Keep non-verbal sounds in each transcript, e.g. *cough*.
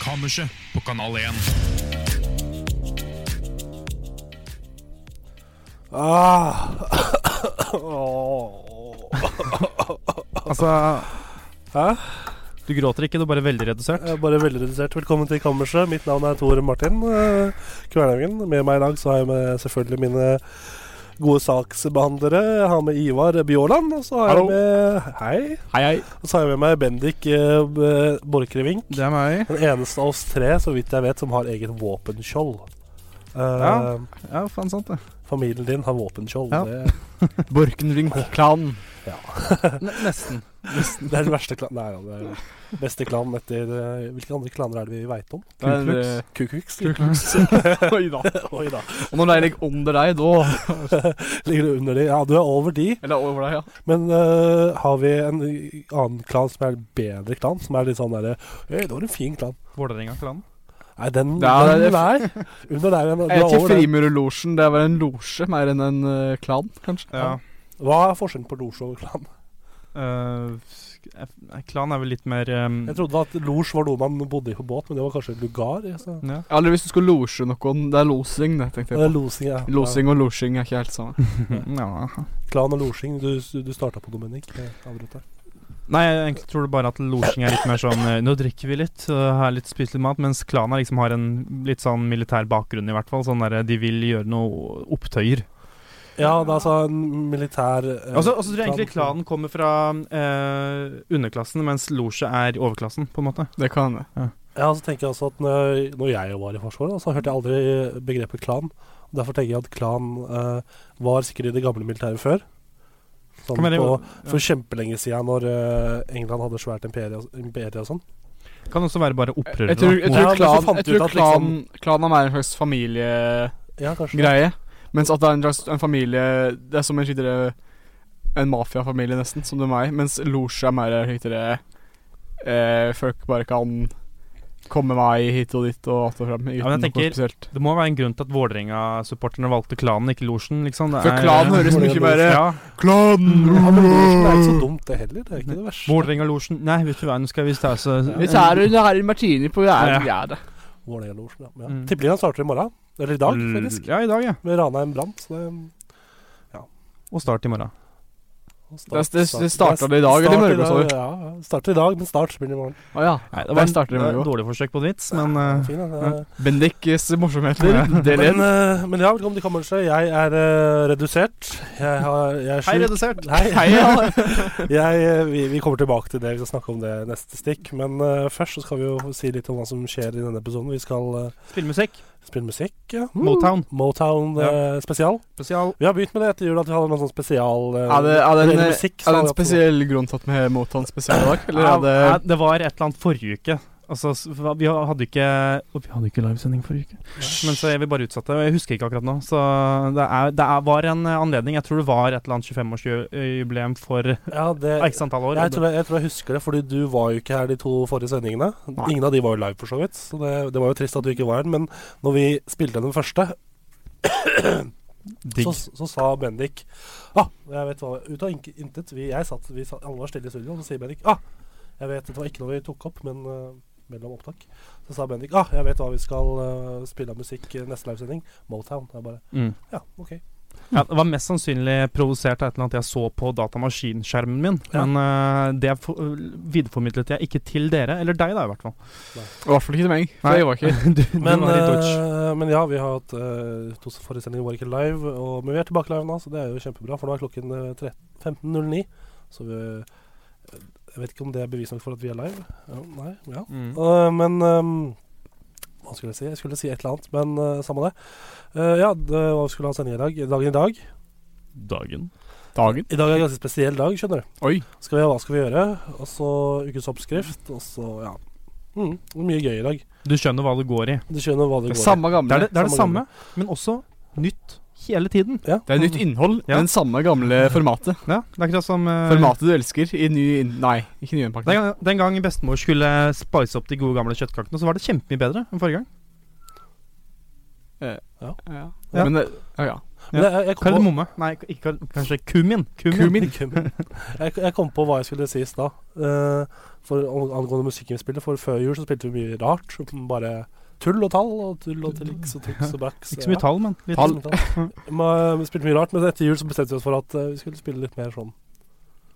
Kammerset på Kanal 1. Altså Hæ? Du gråter ikke, du er bare veldig redusert. Jeg er bare veldig redusert. Velkommen til Kammerset. Mitt navn er Tor Martin eh, Kvernhaugen. Med meg i dag så har jeg med selvfølgelig mine gode saksbehandlere. Jeg har med Ivar Bjåland. Og så har Hallo. jeg med Hei. Hei, hei. Og så har jeg med meg Bendik eh, B- Borchgrevink. Det er meg. Den eneste av oss tre, så vidt jeg vet, som har eget våpenskjold. Eh, Ja. Ja, faen sant det. Familien din har våpenskjold. Ja. Det, Borkenving-klanen. Ja. Nesten. det er den verste klanen. Nei, ja, det er den beste klanen etter eh, Hvilke andre klaner er det vi veit om? Det er, Klux. eh, Kukuks? Oi *laughs* da. *laughs* Oi da. *laughs* Og når det er ligger under deg, da Ligger du under de? Ja, du er over de. Eller over deg, ja. Men øh, har vi en annen klan som er en bedre klan? Som er litt sånn derre Øy, det var en fin klan. Vålerenga-klanen. Nei, den, Ja, den det er- nei. Under der igjen. Du Jeg er er til over den. Frimurerlosjen. Det er vel en losje mer enn en eh, klan, kanskje. Ja. Hva er forskjellen på losj og klan? Eh, sk- eh, klan er vel litt mer eh, Jeg trodde at losj var noe man bodde i på båt, men det var kanskje lugar? ja, Så. ja. Eller hvis du skulle losje noen. Det er losing, det, tenkte Ja, det jeg. er losing, ja. på. Losing og losjing er ikke helt samme. ja. Ja, Klan og losjing. Du, du starta på noe, Bendik. Jeg avbrøt deg. Nei, jeg egentlig tror det bare at losjing er litt mer sånn eh, Nå drikker vi litt, uh, har litt spist litt mat. Mens klana liksom har en litt sånn militær bakgrunn, i hvert fall. Sånn der, de vil gjøre noe opptøyer. Ja, det er altså en militær eh, Og Altså, så tror jeg egentlig klan. klanen kommer fra eh, underklassen, mens losje er overklassen, på en måte. Det kan jeg. Ja, så tenker jeg også at når, når jeg var i Forsvaret, da, så hørte jeg aldri begrepet klan. Derfor tenker jeg at klan eh, var sikkert i det gamle militæret før. Sånn Kan være- på, ja. for kjempelenge siden, når eh, England hadde svært imperie, imperie og sånn. Kan også være bare opprørere. Jeg tror, da. jeg Ja, tror, men så klan, fant jeg du ut tror at liksom- klan, klan er mer en slags familiegreie. Ja, kanskje. Mens at det er en slags en familie Det er som en skikkelig En mafiafamilie, nesten, som det er meg. Mens losje er mer skikkelig eh, Folk bare kan komme meg hit og dit og att og fram. Uten Ja, noe men jeg tenker- spesielt. Det må være en grunn til at Vålerenga-supporterne valgte klanen, ikke losjen. Liksom. Det For er- klan høres mye mer Ja. Klan! Ja, men det er ikke så dumt, det heller. Det er ikke det verste. Vålerenga-losjen Nei, vet du hva, nå skal vi ta altså- så Vi tar en herr martini på Ja. hver gjerde. Vålerenga-losjen, ja. ja. Mm. Tippeligaen starter i morgen. Eller i dag, Mm. faktisk. Ja, i dag, ja. Med Ranheim Brann. så det- Og start i morgen. Det- det- det starter det i dag, eller starter i morgen, sa du? dag, Ja, ja. starter i dag, men start spiller i morgen. Å ja. Nei, det Der starter det det med var god. et dårlig forsøk på en vits, men eh, Fin, ja. ja. Bendiks morsomheter. *laughs* Del Men, én. eh, men ja, velkommen til kammerset. Jeg er eh, redusert. Jeg, har, jeg er Hei, sjuk. redusert! Hei, Hei, ja. *laughs* Jeg, eh, vi, vi kommer tilbake til det. Vi skal snakke om det neste stikk. Men eh, først så skal vi jo si litt om hva som skjer i denne episoden. Vi skal eh, Spillmusikk. spille musikk. Ja. Motown. Motown eh, spesial. Spesial. Vi har begynt med det etter jul, at vi hadde noen sånn spesial eh, Er det, er det en, eller er musikk, det en sa vi absolutt. spesiell grunn til at vi mottar en spesial i dag? Eller Ja, er det nei, det var et eller annet forrige uke. Altså, s- hva- vi hadde ikke Å, Vi hadde ikke livesending forrige uke. Men så jeg vil bare utsette og jeg husker ikke akkurat nå. Så det, er, det er, var en eh, anledning. Jeg tror det var et eller annet 25-årsjubileum for eh, Ja, det, x antall år. jeg, tror jeg, jeg tror jeg husker det, fordi du var jo ikke her de to forrige sendingene. Nei. Ingen av de var jo live, for så vidt. Så det, det var jo trist at du ikke var her. Men når vi spilte den første, Digg. Så, så sa Bendik ah, jeg vet hva, Ut av ink- intet. Vi, jeg satt, vi satt, alle var stille i studio, og så sier Bendik ah, jeg vet, Det var ikke noe vi tok opp, men eh, mellom opptak. Så sa Bendik ah, jeg vet hva vi skal eh, spille av musikk i neste livesending. Motown. Jeg bare Mm. Ja, OK. Ja, det var mest sannsynlig provosert av et eller annet jeg så på datamaskinskjermen min. Ja. Men eh, det for, videreformidlet jeg ikke til dere, eller deg da, i hvert fall. I hvert fall ikke til meg. For Nei. jeg var ikke *laughs* Du, Men, du var i Deutsch. eh, men ja, vi har hatt eh, to forrige sendinger var ikke live, og, men vi er tilbake live nå, så det er jo kjempebra. For nå er klokken eh, tre- 15.09, så vi eh, Jeg vet ikke om det er bevis nok for at vi er live. Ja, nei, ja. Mm. Eh, men ehm, Hva skulle jeg si? Jeg skulle si et eller annet, men eh, samme det. Eh, ja, det, hva vi skulle ha sending i dag? Dagen i dag. Dagen. Dagen? I dag er en ganske spesiell dag, skjønner du. Oi. Skal vi, hva skal vi gjøre? Og så ukens oppskrift, og så ja. Mm, det er mye gøy i dag. Du skjønner hva det går i. Du skjønner hva det Det er går i. samme gamle. Det er det, det, er det Samme samme, men også nytt hele tiden. Ja. Det er nytt innhold, Ja. men samme gamle formatet. Ja, det er akkurat som eh, Formatet du elsker i ny inn- Nei, ikke Den, nyinnpakning. gang- den gang bestemor skulle spice opp de gode gamle kjøttkakene, så var det kjempemye bedre enn forrige gang. Ja. Ja. Men det- ja, ja. Men jeg, jeg, jeg kom på, Kardemomme. Nei, ikke, kar- kanskje kummin. Kummin. Kumin. *laughs* jeg, jeg kom på hva jeg skulle si i stad. eh, for ang- angående musikkinnspillet, for før jul så spilte vi mye rart. Bare tull og tall og tull og triks og triks og backs. Ikke så mye tall, men litt. Tall. *laughs* Men, Vi spilte mye rart, men etter jul så bestemte vi oss for at eh, vi skulle spille litt mer sånn.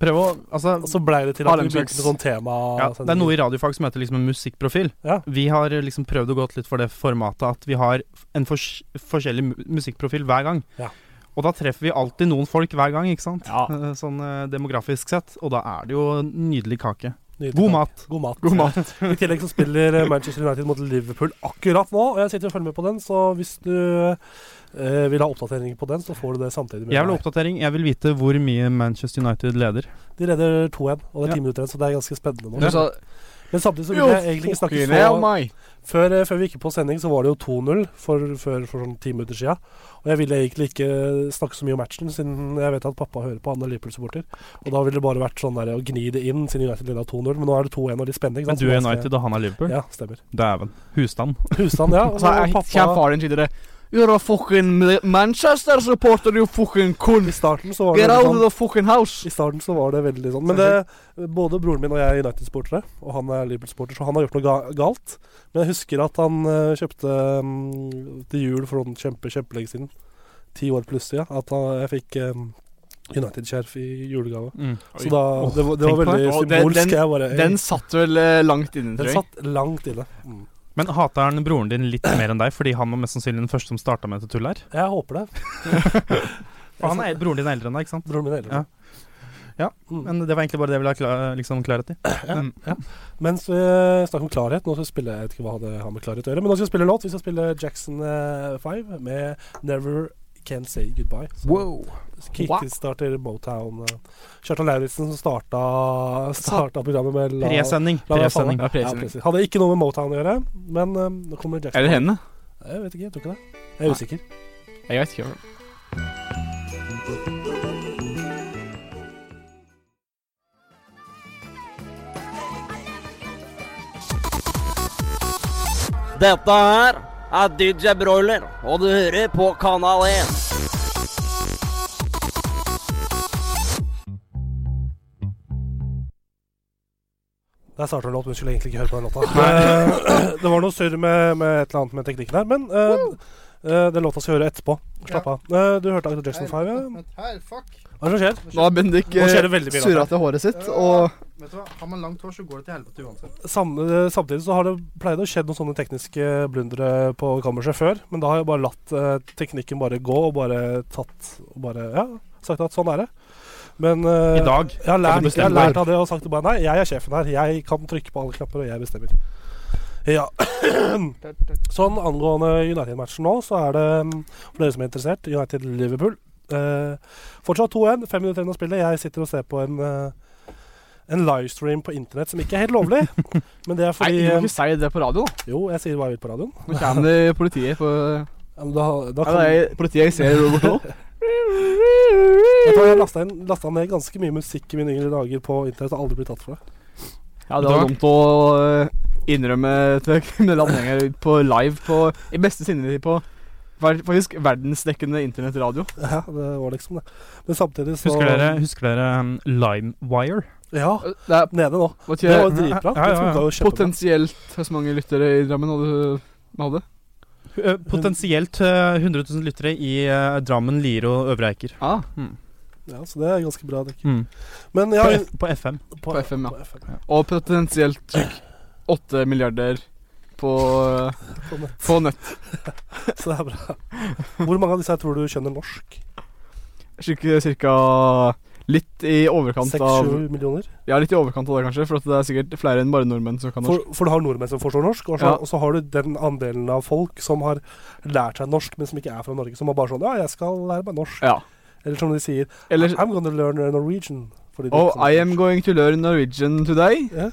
Prøv å Altså, Og så blei det til Har at de vi begynte slags- med sånn tema. ja, det er noe i radiofag som heter liksom en musikkprofil. Ja. Vi har eh, liksom prøvd å gå litt for det formatet at vi har en fors forskjellig mu- musikkprofil hver gang. Ja. Og da treffer vi alltid noen folk hver gang, ikke sant? Ja. Eh, Sånn eh, demografisk sett. Og da er det jo nydelig kake. Nydelig. God mat. God mat. God mat. *laughs* I tillegg så spiller eh, Manchester United mot Liverpool akkurat nå, og jeg sitter og følger med på den, så hvis du eh, vil ha oppdateringer på den, så får du det samtidig med Jeg vil ha meg. oppdatering. Jeg vil vite hvor mye Manchester United leder. De leder 2-1, og det er Ja. ti minutter igjen, så det er ganske spennende nå. Du sa Men samtidig så Jo, vil jeg egentlig ikke snakke fucking hell, så meg. før, eh, før vi gikk på sending, så var det jo 2-0 for, for, for sånn ti minutter sia. Og jeg ville egentlig ikke snakke så mye om matchen, siden jeg vet at pappa hører på, han er Liverpool-supporter. Og da ville det bare vært sånn der å gni det inn, siden United leda 2-0. Men nå er det 2-1 og litt spenning. Men sant? du Så er da skal jeg- United, og han er Liverpool? Ja, stemmer. Dæven. Husstand. Husstand, ja. Og *laughs* så er- kommer Altså, faren din videre. You're a fucking Manchester-supporter, you fucking I kun. starten så var det Get veldig out of sånn, the fucking house. I starten så var det veldig sånn Men det, både broren min og jeg er United-sportere, og han er Liverpool-sporter, så han har gjort noe ga galt. Men jeg husker at han eh, kjøpte mm, til jul for noen kjempe, kjempelenge siden, ti år pluss siden, at han, jeg fikk eh, United-skjerf i julegave. Mm. Så da Åh, Det var, det var tenk på det. veldig Og den- symbolsk. den- jeg bare Den satt vel eh, langt inne, den tror jeg. satt langt inne. Mm. Men hater han broren din litt mer enn deg, fordi han var mest sannsynlig den første som starta med dette tullet her? Jeg håper det. *laughs* For han er, broren din er eldre enn deg, ikke sant? Broren min er eldre. Ja. Mm. Men det var egentlig bare det jeg ville ha kla- liksom, klarhet i. Mm. Mens vi snakker om klarhet Nå skal vi spille Jeg vet ikke hva det har med klarhet å gjøre, men nå skal vi spille låt. Vi skal spille Jackson 5 med 'Never Can Say Goodbye'. Så Kickstarter Motown. eh. Kjartan Lauritzen som starta, starta programmet med La- Presending. La meg Presending. Ja, Ja, presending. precis. Hadde ikke noe med Motown å gjøre, men eh, nå kommer Jackson. Eller henne. Jeg vet ikke, jeg tror ikke det. Jeg er Nei. usikker. Jeg vet ikke. Dette her er DJ Broiler, og du hører på Kanal 1. Der starta en låt, men vi skulle egentlig ikke høre på den låta. Eh, *clears throat* det var noe surr med, med et eller annet med teknikken her, men eh, eh, den låta skal vi høre etterpå. Slapp av. Eh, du hørte akkurat Jackson 5, ja? Her, fuck. Hva er det som skjer? Nå har Bendik Nå skjer det veldig mye. surra til håret sitt, og Vet du hva, Har man langt hår, så går det til helvete uansett. Sam, samtidig så har det pleid å skjedd noen sånne tekniske blundere på kammerset før, men da har jeg bare latt eh, teknikken bare gå og bare tatt og bare Ja, sagt at sånn er det. Men eh, I dag. jeg har, lært, jeg bestemmer har lært av det og sagt bare nei, jeg er sjefen her. Jeg kan trykke på alle knapper, og jeg bestemmer. Ja. *clears throat* Sånn angående United-matchen nå, så er det mm, for dere som er interessert, United-Liverpool. Eh, fortsatt 2-1, fem minutter igjen å spille. Jeg sitter og ser på en eh, en livestream på internett som ikke er helt lovlig. Men det er Nei, fordi du må eh, ikke si det på radio. da. Jo, jeg sier hva jeg vil på radioen. Nå kommer det politiet på Ja, men Da, Ja, da kan, det er politiet jeg ser over nå. Vet du hva, jeg lasta inn- lasta ned ganske mye musikk i mine yngre dager på internett og aldri blitt tatt for det. *laughs* Ja, det var dumt å eh, innrømme *laughs* til kriminelle anhenger på live på I beste sinnetid på ver- faktisk verdensdekkende internettradio. Ja, det var liksom det. Men samtidig så Husker dere, husker dere um, LimeWire? Ja. Det er Nede nå. Det var var jo dritbra. Ja, ja, ja. Det funka jo kjempebra. potensielt hvor mange lyttere i Drammen hadde vi hadde. Eh, Potensielt eh, 100 000 lyttere i eh, Drammen, Lier og Øvre Eiker. Ah, Ja, så det er ganske bra. Det. Mm. Men På, ja, F på FM. på FM, ja. På FM. Og potensielt trykk 8 milliarder på, På nett. på nett. Så det er bra. Hvor mange av disse her tror du skjønner norsk? Cirka, cirka litt i overkant av 6-7 millioner? Ja, litt i overkant av det, kanskje. For at det er sikkert flere enn bare nordmenn som kan norsk. For, for du har nordmenn som forstår norsk, og så, Ja. og så har du den andelen av folk som har lært seg norsk, men som ikke er fra Norge. Som er bare sånn Ja, jeg skal lære meg norsk. Ja. Eller som de sier Eller I'm gonna learn Norwegian. fordi det er Oh, ikke så I am norsk. going to learn Norwegian today, Ja.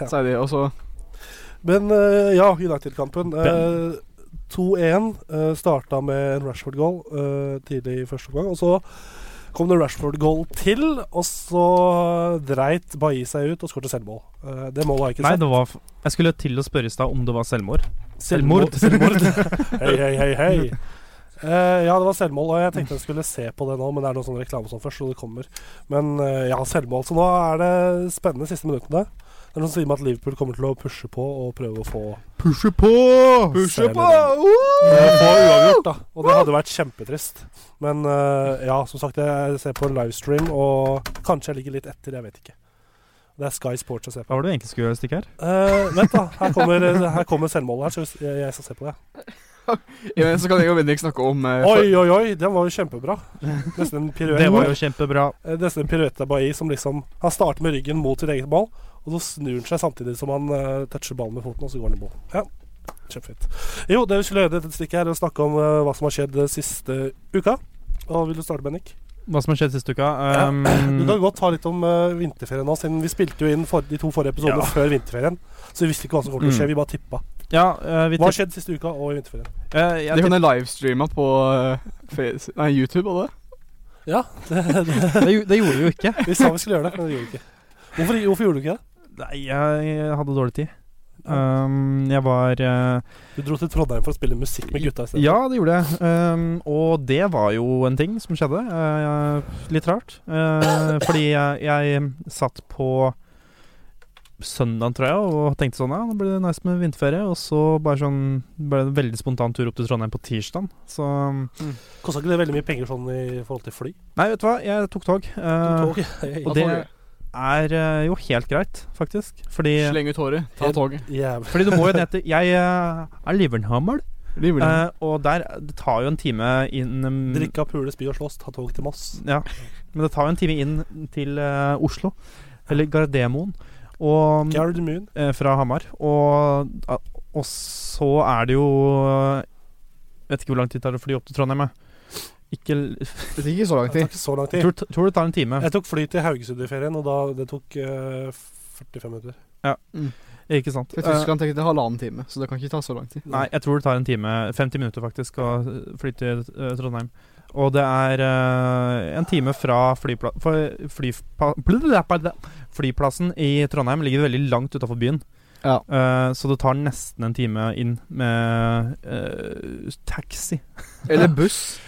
Ja. sier de. Og så Men eh, ja, United-kampen. eh, 2-1 uh, starta med en Rashford-goal eh, tidlig i første omgang. Og så kom det Rashford-goal til, og så dreit Bailly seg ut og skåret selvmål. Eh, det målet har jeg ikke Nei, sett. det var f Jeg skulle til å spørre i stad om det var selvmord. Selvmål- Selvmord. *laughs* *laughs* hei, hei, hei, hei. Eh, ja, det var selvmål, og jeg tenkte jeg skulle se på det nå, men det er noe sånn reklame som først, så det kommer. Men eh, ja, selvmål. Så nå er det spennende siste minuttene. Det er noen som sier meg at Liverpool kommer til å pushe på og prøve å få Pushe på! Pushe Seier på! med Woo! på Eh, uavgjort, da. Og det hadde vært kjempetrist. Men eh, ja, som sagt, jeg ser på en livestream, og kanskje jeg ligger litt etter, jeg vet ikke. Det er Sky Sports jeg ser på. Hva var det du egentlig skulle gjøre, Stikker? Eh, vent, da. Her kommer, her kommer selvmålet her, så jeg, jeg skal se på det. Ja, men så kan jeg og Bendik snakke om eh, Oi, oi, oi! Den var jo kjempebra. Nesten en piruett. Det var jo kjempebra. Eh, Nesten en piruett av Bailly som liksom Han starter med ryggen mot sitt eget mål, og så snur han seg samtidig som han eh, toucher ballen med foten, og så går han i mål. Ja. Kjempefint. Jo, det vi skulle gjøre i dette stikket, er å snakke om eh, hva som har skjedd eh, siste uka. Og vil du starte, Bennik? Hva som har skjedd siste uka? Ja. Um, Du kan godt ta litt om eh, vinterferien nå, siden vi spilte jo inn for, de to forrige episodene Ja. før vinterferien. Så vi visste ikke hva som kom til å skje, Mm. vi bare tippa. ja, eh, vi Hva har tipp- skjedd siste uka og i vinterferien? *laughs* eh, jeg Det kan jeg livestreame på eh, face, nei, YouTube og det. Ja, det, det, tipp- det, gjo- det gjorde vi jo ikke. vi sa vi skulle gjøre det, men det gjorde vi ikke. Hvorfor, hvorfor gjorde du ikke det? Nei, jeg hadde dårlig tid. Um, jeg var eh, Du dro til Trondheim for å spille musikk med gutta i stedet. Ja, det gjorde jeg. Ehm, og det var jo en ting som skjedde. Eh, litt rart. *laughs* Eh, fordi jeg, jeg satt på søndag, tror jeg, og tenkte sånn Ja, nå blir det nice med vinterferie. Og så bare sånn ble det en veldig spontan tur opp til Trondheim på tirsdag. Så Kosta ikke det veldig mye penger sånn i forhold til fly? Nei, vet du hva, jeg tok tog. *laughs* Eh, Tog? Hei. og det Altså, er eh, jo helt greit, faktisk. Fordi, Sleng ut håret, ta Jeg- toget. Jævlig. fordi du må jo ned til Jeg eh, er Liverhammer, River det. eh, og der det tar jo en time inn um, Drikke, pule, spy og slåss, ta tog til Moss. Ja, men det tar jo en time inn til eh, Oslo, eller Gardermoen, og, Gardermoen. eh, fra Hamar. Og, ah, og så er det jo eh, Vet ikke hvor lang tid det tar å fly opp til Trondheim. jeg. Ikke l- *laughs* Det tok ikke så lang Det tar tid. ikke så lang jeg tid. tror, tror det tar en time. Jeg tok fly til Haugesund i ferien, og da, det tok eh, 45 minutter. Ikke sant? Til Eh, Tyskland tok det halvannen time, så det kan ikke ta så lang tid. *laughs* Nei, jeg tror det tar en time, 50 minutter faktisk, å eh, fly til eh, Trondheim. Og det er eh, en time fra flypla for flypa blablabla. flyplassen i Trondheim. Ligger veldig langt utafor byen. Ja. Eh, så det tar nesten en time inn med eh, taxi. *laughs* Eller buss.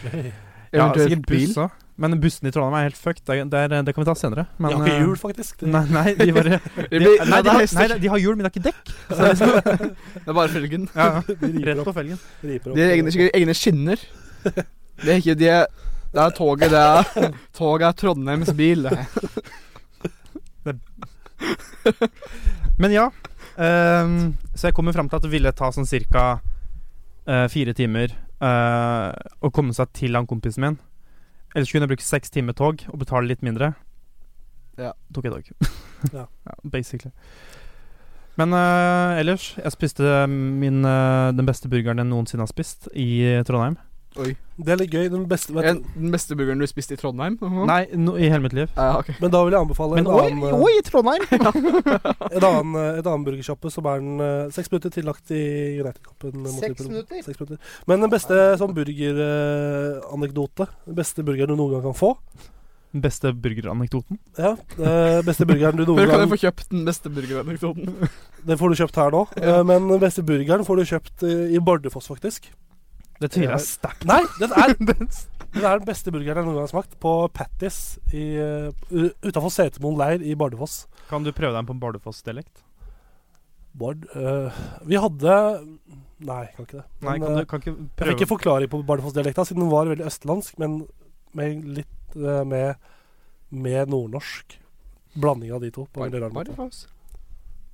Ja, Eventuelt sikkert bil. buss òg. Men bussene i Trondheim er helt fucked. Det, er- det er- det kan vi ta senere. Men, jeg har ikke eh, hjul, faktisk. Det- Nei, nei, *laughs* de bare de, Det blir- nei, er de har, hester. nei, de har hjul, men de har ikke *laughs* dekk. Så det er liksom, Det er bare *laughs* felgen. ja, ja. de riper Rett opp. på felgen. Riper opp. De har egne, sikkert egne skinner. Det er ikke de Det er toget, det er Toget er Trondheims bil. det. Men ja. ehm, så jeg kommer fram til at det ville ta sånn cirka eh, fire timer eh, å komme seg til han kompisen min. Ellers kunne jeg bruke seks timer tog og betale litt mindre. Ja. Tok jeg tog. *laughs* Ja. basically. Men eh, ellers Jeg spiste min, eh, den beste burgeren jeg noensinne har spist i Trondheim. Oi. Det er litt gøy. Den beste, vet, En, du. den beste burgeren du spiste i Trondheim? Nei, no, i hele mitt liv. Ja, ok. men da vil jeg anbefale en Men oi, annen, oi, i Trondheim! *laughs* eh, en annen, eh, et annet burgersjappe som er den eh, seks minutter tillagt i United-kampen. mot Seks Liverpool. minutter? Seks minutter. Men den beste sånn burgeranekdote, den beste burgeren du noen gang kan få Den beste burgeranekdoten. Ja, eh, beste burgeren *laughs* du noen Hvor kan jeg gang få kjøpt den beste burgeranekdoten? Den får du kjøpt her nå. eh, Men den beste burgeren får du kjøpt eh, i Bardufoss, faktisk. Det tviler jeg sterkt Nei, den *laughs* er, den er den beste burgeren jeg noen gang har smakt. På Pattis utafor Setermoen leir i Bardufoss. Kan du prøve deg på en Bardufoss-dialekt? Bard eh, Vi hadde Nei, jeg kan ikke det. Nei, Men, kan du eh, kan ikke jeg fikk prøve en forklaring på Bardufoss-dialekta, siden den var veldig østlandsk, men med litt eh, med, med nordnorsk. Blanding av de to. på en veldig rar måte.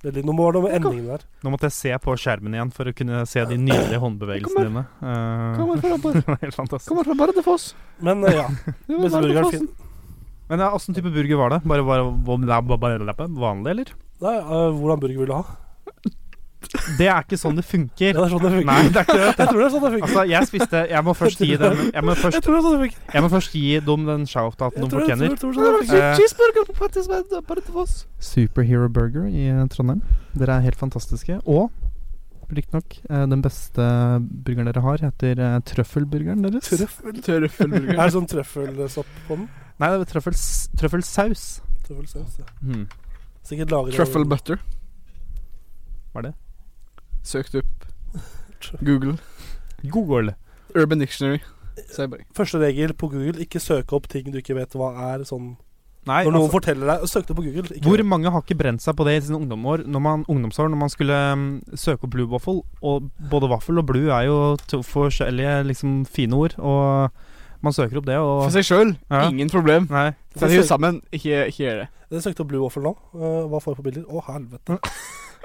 Det er litt- Nå må det være noe med endingene der. Nå måtte jeg se på skjermen igjen for å kunne se de nydelige håndbevegelsene dine. Eh, Kommer fra Bar- *laughs* *laughs* det var helt fantastisk. kommer fra Bardufoss. Men eh, ja. Det var Beste burgeren Bardufoss. fin. Men ja, åssen type burger var det? Bare, bare, bare, bare, bare vanlig, eller? Nei, eh, hvordan burger vil du ha? Det er ikke sånn det Ja, funker. det er sånn det funker. Nei, det er ikke det. Jeg tror *laughs* det er sånn det funker. Altså, jeg spiste Jeg må først gi dem Jeg må Jeg først, tror det er sånn det funker. jeg må først gi dem den shout-outen Jeg tror de det- fortjener. tror- tror det er sånn det funker. Eh, Cheeseburger på eh, Pattisved, bare til Voss. Superhero Burger i eh, Trondheim. Dere er helt fantastiske. Og riktignok, eh, den beste burgeren dere har, heter eh, trøffelburgeren deres. Trøffel. Er Trøffelburger. det sånn trøffelsopp på den? Nei, det er trøffels, trøffelsaus. Trøffelsaus. ja. Hmm. Sikkert lager Truffle butter. Hva er det? Søkt opp. Google. Google. Urban Dictionary. Sier jeg bare. Første regel på Google, ikke søke opp ting du ikke vet hva er sånn Nei, Når noen altså, forteller deg Søk det på Google. Ikke hvor mange har ikke brent seg på det i sine ungdomsår når man, ungdomsår, når man skulle mm, søke opp Blue Waffle? Og både vaffel og blue er jo to forskjellige liksom, fine ord, og man søker opp det, For og seg sjøl, Ja. ingen problem. Nei. Sett dere sammen, ikke, ikke gjør det. Jeg søkte opp Blue Waffle nå. Eh, hva får jeg på bilder? Å, helvete.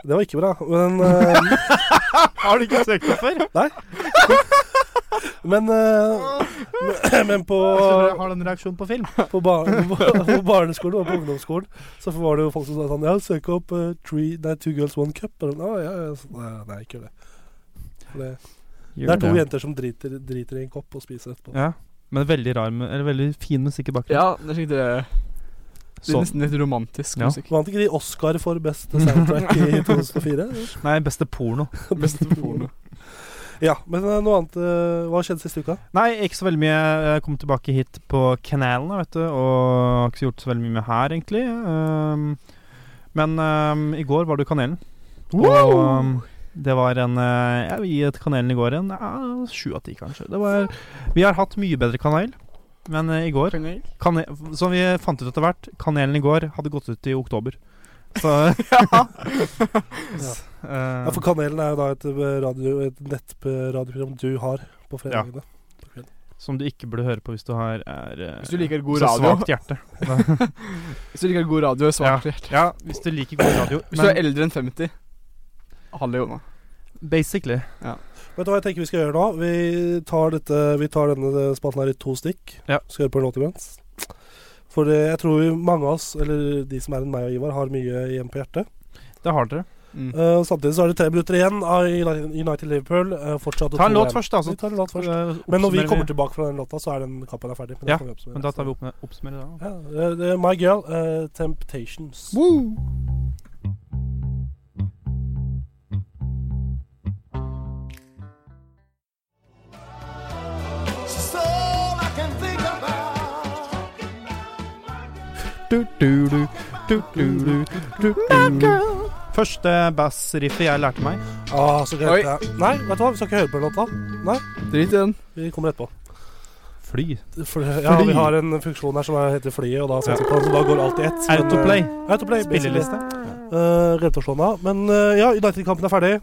Det var ikke bra, men eh, *laughs* Har du ikke søkt opp før? Men, eh, men- men på, Jeg har den reaksjonen på film. på, bar *laughs* på barneskolen og på ungdomsskolen så var det jo folk som sa sånn Ja, søk opp eh, three, nei, Two Girls One Cup. Eller, «Å, ja, ja, så, nei, nei, ikke gjør det. For det. Det er to jenter som driter, driter i en kopp og spiser etterpå. Ja. Men veldig rar mu- Eller veldig fin musikk i bakgrunnen. Ja, det er slik det er. Det er Sånn. nesten litt romantisk Ja. musikk. Vant ikke de Oscar for beste soundtrack i 2004? Nei, beste porno. Best porno. Ja, men eh, noe annet eh, Hva skjedde siste uka? Nei, ikke så veldig mye. Jeg kom tilbake hit på kanalen, vet du, og har ikke så gjort så veldig mye med her, egentlig. Ehm, men ehm, i går var du Kanelen. Og ehm, det var en eh, Jeg vil gi et Kanelen i går en ja, sju av ti, kanskje. Det var, vi har hatt mye bedre kanel, men eh, i går kane, Som vi fant ut etter hvert, kanelen i går hadde gått ut i oktober. Så *laughs* *laughs* Eh, Ja, For Kanelen er jo da et, eh, radio, et nettradioprogram du har på fredagene. Som du ikke burde høre på hvis du har er, eh, Hvis du liker god så radio. svakt hjerte. *laughs* Hvis du liker god radio, er svart hjerte. Ja, hvis du liker god radio. Hvis du er Men eldre enn 50 Halve jona. basically Vet du hva jeg tenker vi skal gjøre nå? Vi tar, dette, vi tar denne spalten her i to stikk. Ja. Skal høre på en låt imens. For eh, jeg tror vi, mange av oss, eller de som er enn meg og Ivar, har mye igjen på hjertet. Det har dere. Mm. Eh, samtidig så er det tre minutter igjen av United United Liverpool. eh, fortsatt Ta en låt 2-1. først, da. Vi Så, tar en låt først. eh, Men når vi oppsummerer kommer tilbake fra den låta, så er den kampen er ferdig. Men, det Ja, kan vi oppsummere Men da tar vi etterpå. opp, oppsummerer det. da. Ja, eh, det er My Girl, eh, Temptations. Første bassriffet jeg lærte meg. Ah, så Oi. gøy. Nei, vet du hva, vi skal ikke høre på den låta. Drit i den. Vi kommer etterpå. Fly. For, ja, Fly. vi har en funksjon her som er- heter Flyet, og da, setter vi på den, så da går alt i ett. men, Autoplay. eh, Autoplay Spilleliste. Uh, Glemte å slå den av. Men eh, ja, United-kampen er ferdig.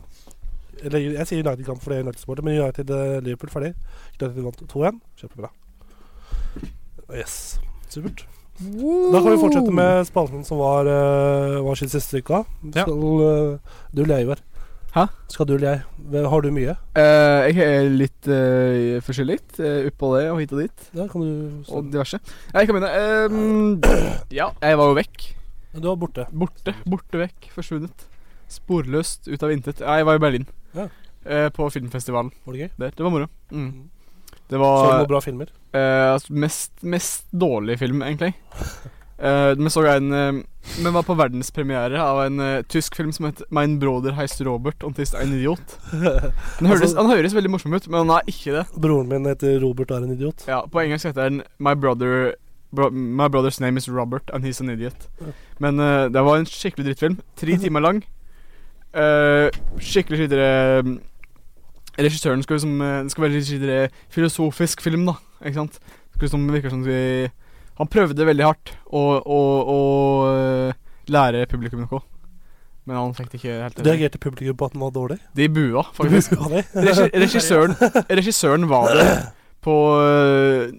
Eller jeg sier United-kamp fordi jeg er United-supporter, men United-Liverpool ferdig. United vant 2-1. Kjempebra. Yes. Supert. Da kan vi fortsette med spalten som var eh, Hva skjedde siste uka. Ja. Skal eh, du eller jeg, Ivar? Hæ? Skal du eller jeg? Hva- Har du mye? Eh, jeg er litt eh, forskjellig. Uh, Oppå det og hit og dit. Ja, kan du Og diverse. Jeg kan begynne. Eh, Sånn. ja, jeg var jo vekk. Du var borte. Borte. Borte vekk. Forsvunnet. Sporløst ut av intet. Nei, Jeg var i Berlin. Ja. Eh, på filmfestivalen Var det gøy? der. Det var moro. Mm. Det Så du var noen bra filmer? Eh, altså, mest, mest dårlig film, egentlig. Eh, men så jeg en eh, Men var på verdenspremiere av en eh, tysk film som het Mein Broder heist Robert und ist ein Idiot. Den høres, Altså- han høres veldig morsom ut, men han er ikke det. Broren min heter Robert og er en idiot. Ja, På engelsk heter den My brother bro, My brother's name is Robert and he's an idiot. Men eh, det var en skikkelig drittfilm. Tre timer lang. Eh, skikkelig skitere Regissøren skal liksom eh, Det skal være litt skitere filosofisk film, da. Ikke sant? Skal liksom virker som vi Han prøvde veldig hardt å, å, å eh, lære publikum noe. Men han fikk det ikke helt til. Reagerte publikum på at den var dårlig? De bua, faktisk. Ja, det. Regi regissøren, regissøren var der på, øh,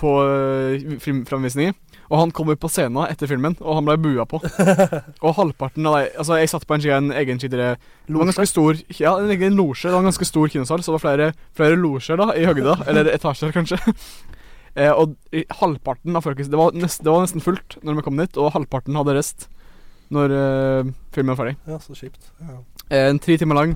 på øh, filmframvisninger. Og han kom ut på scenen etter filmen, og han ble bua på. Og halvparten av de Altså, jeg satt på en, ski- en egen skidere Det var en ganske stor Ja, en egen losje. Det var en ganske stor kinosal, så det var flere, flere losjer da, i høgda. Eller etasjer, kanskje. Eh, og i- halvparten av folket det var, nesten, det var nesten fullt når vi kom dit, og halvparten hadde rest når øh, filmen var ferdig. Ja, så kjipt. Ja. Eh, En tre timer lang.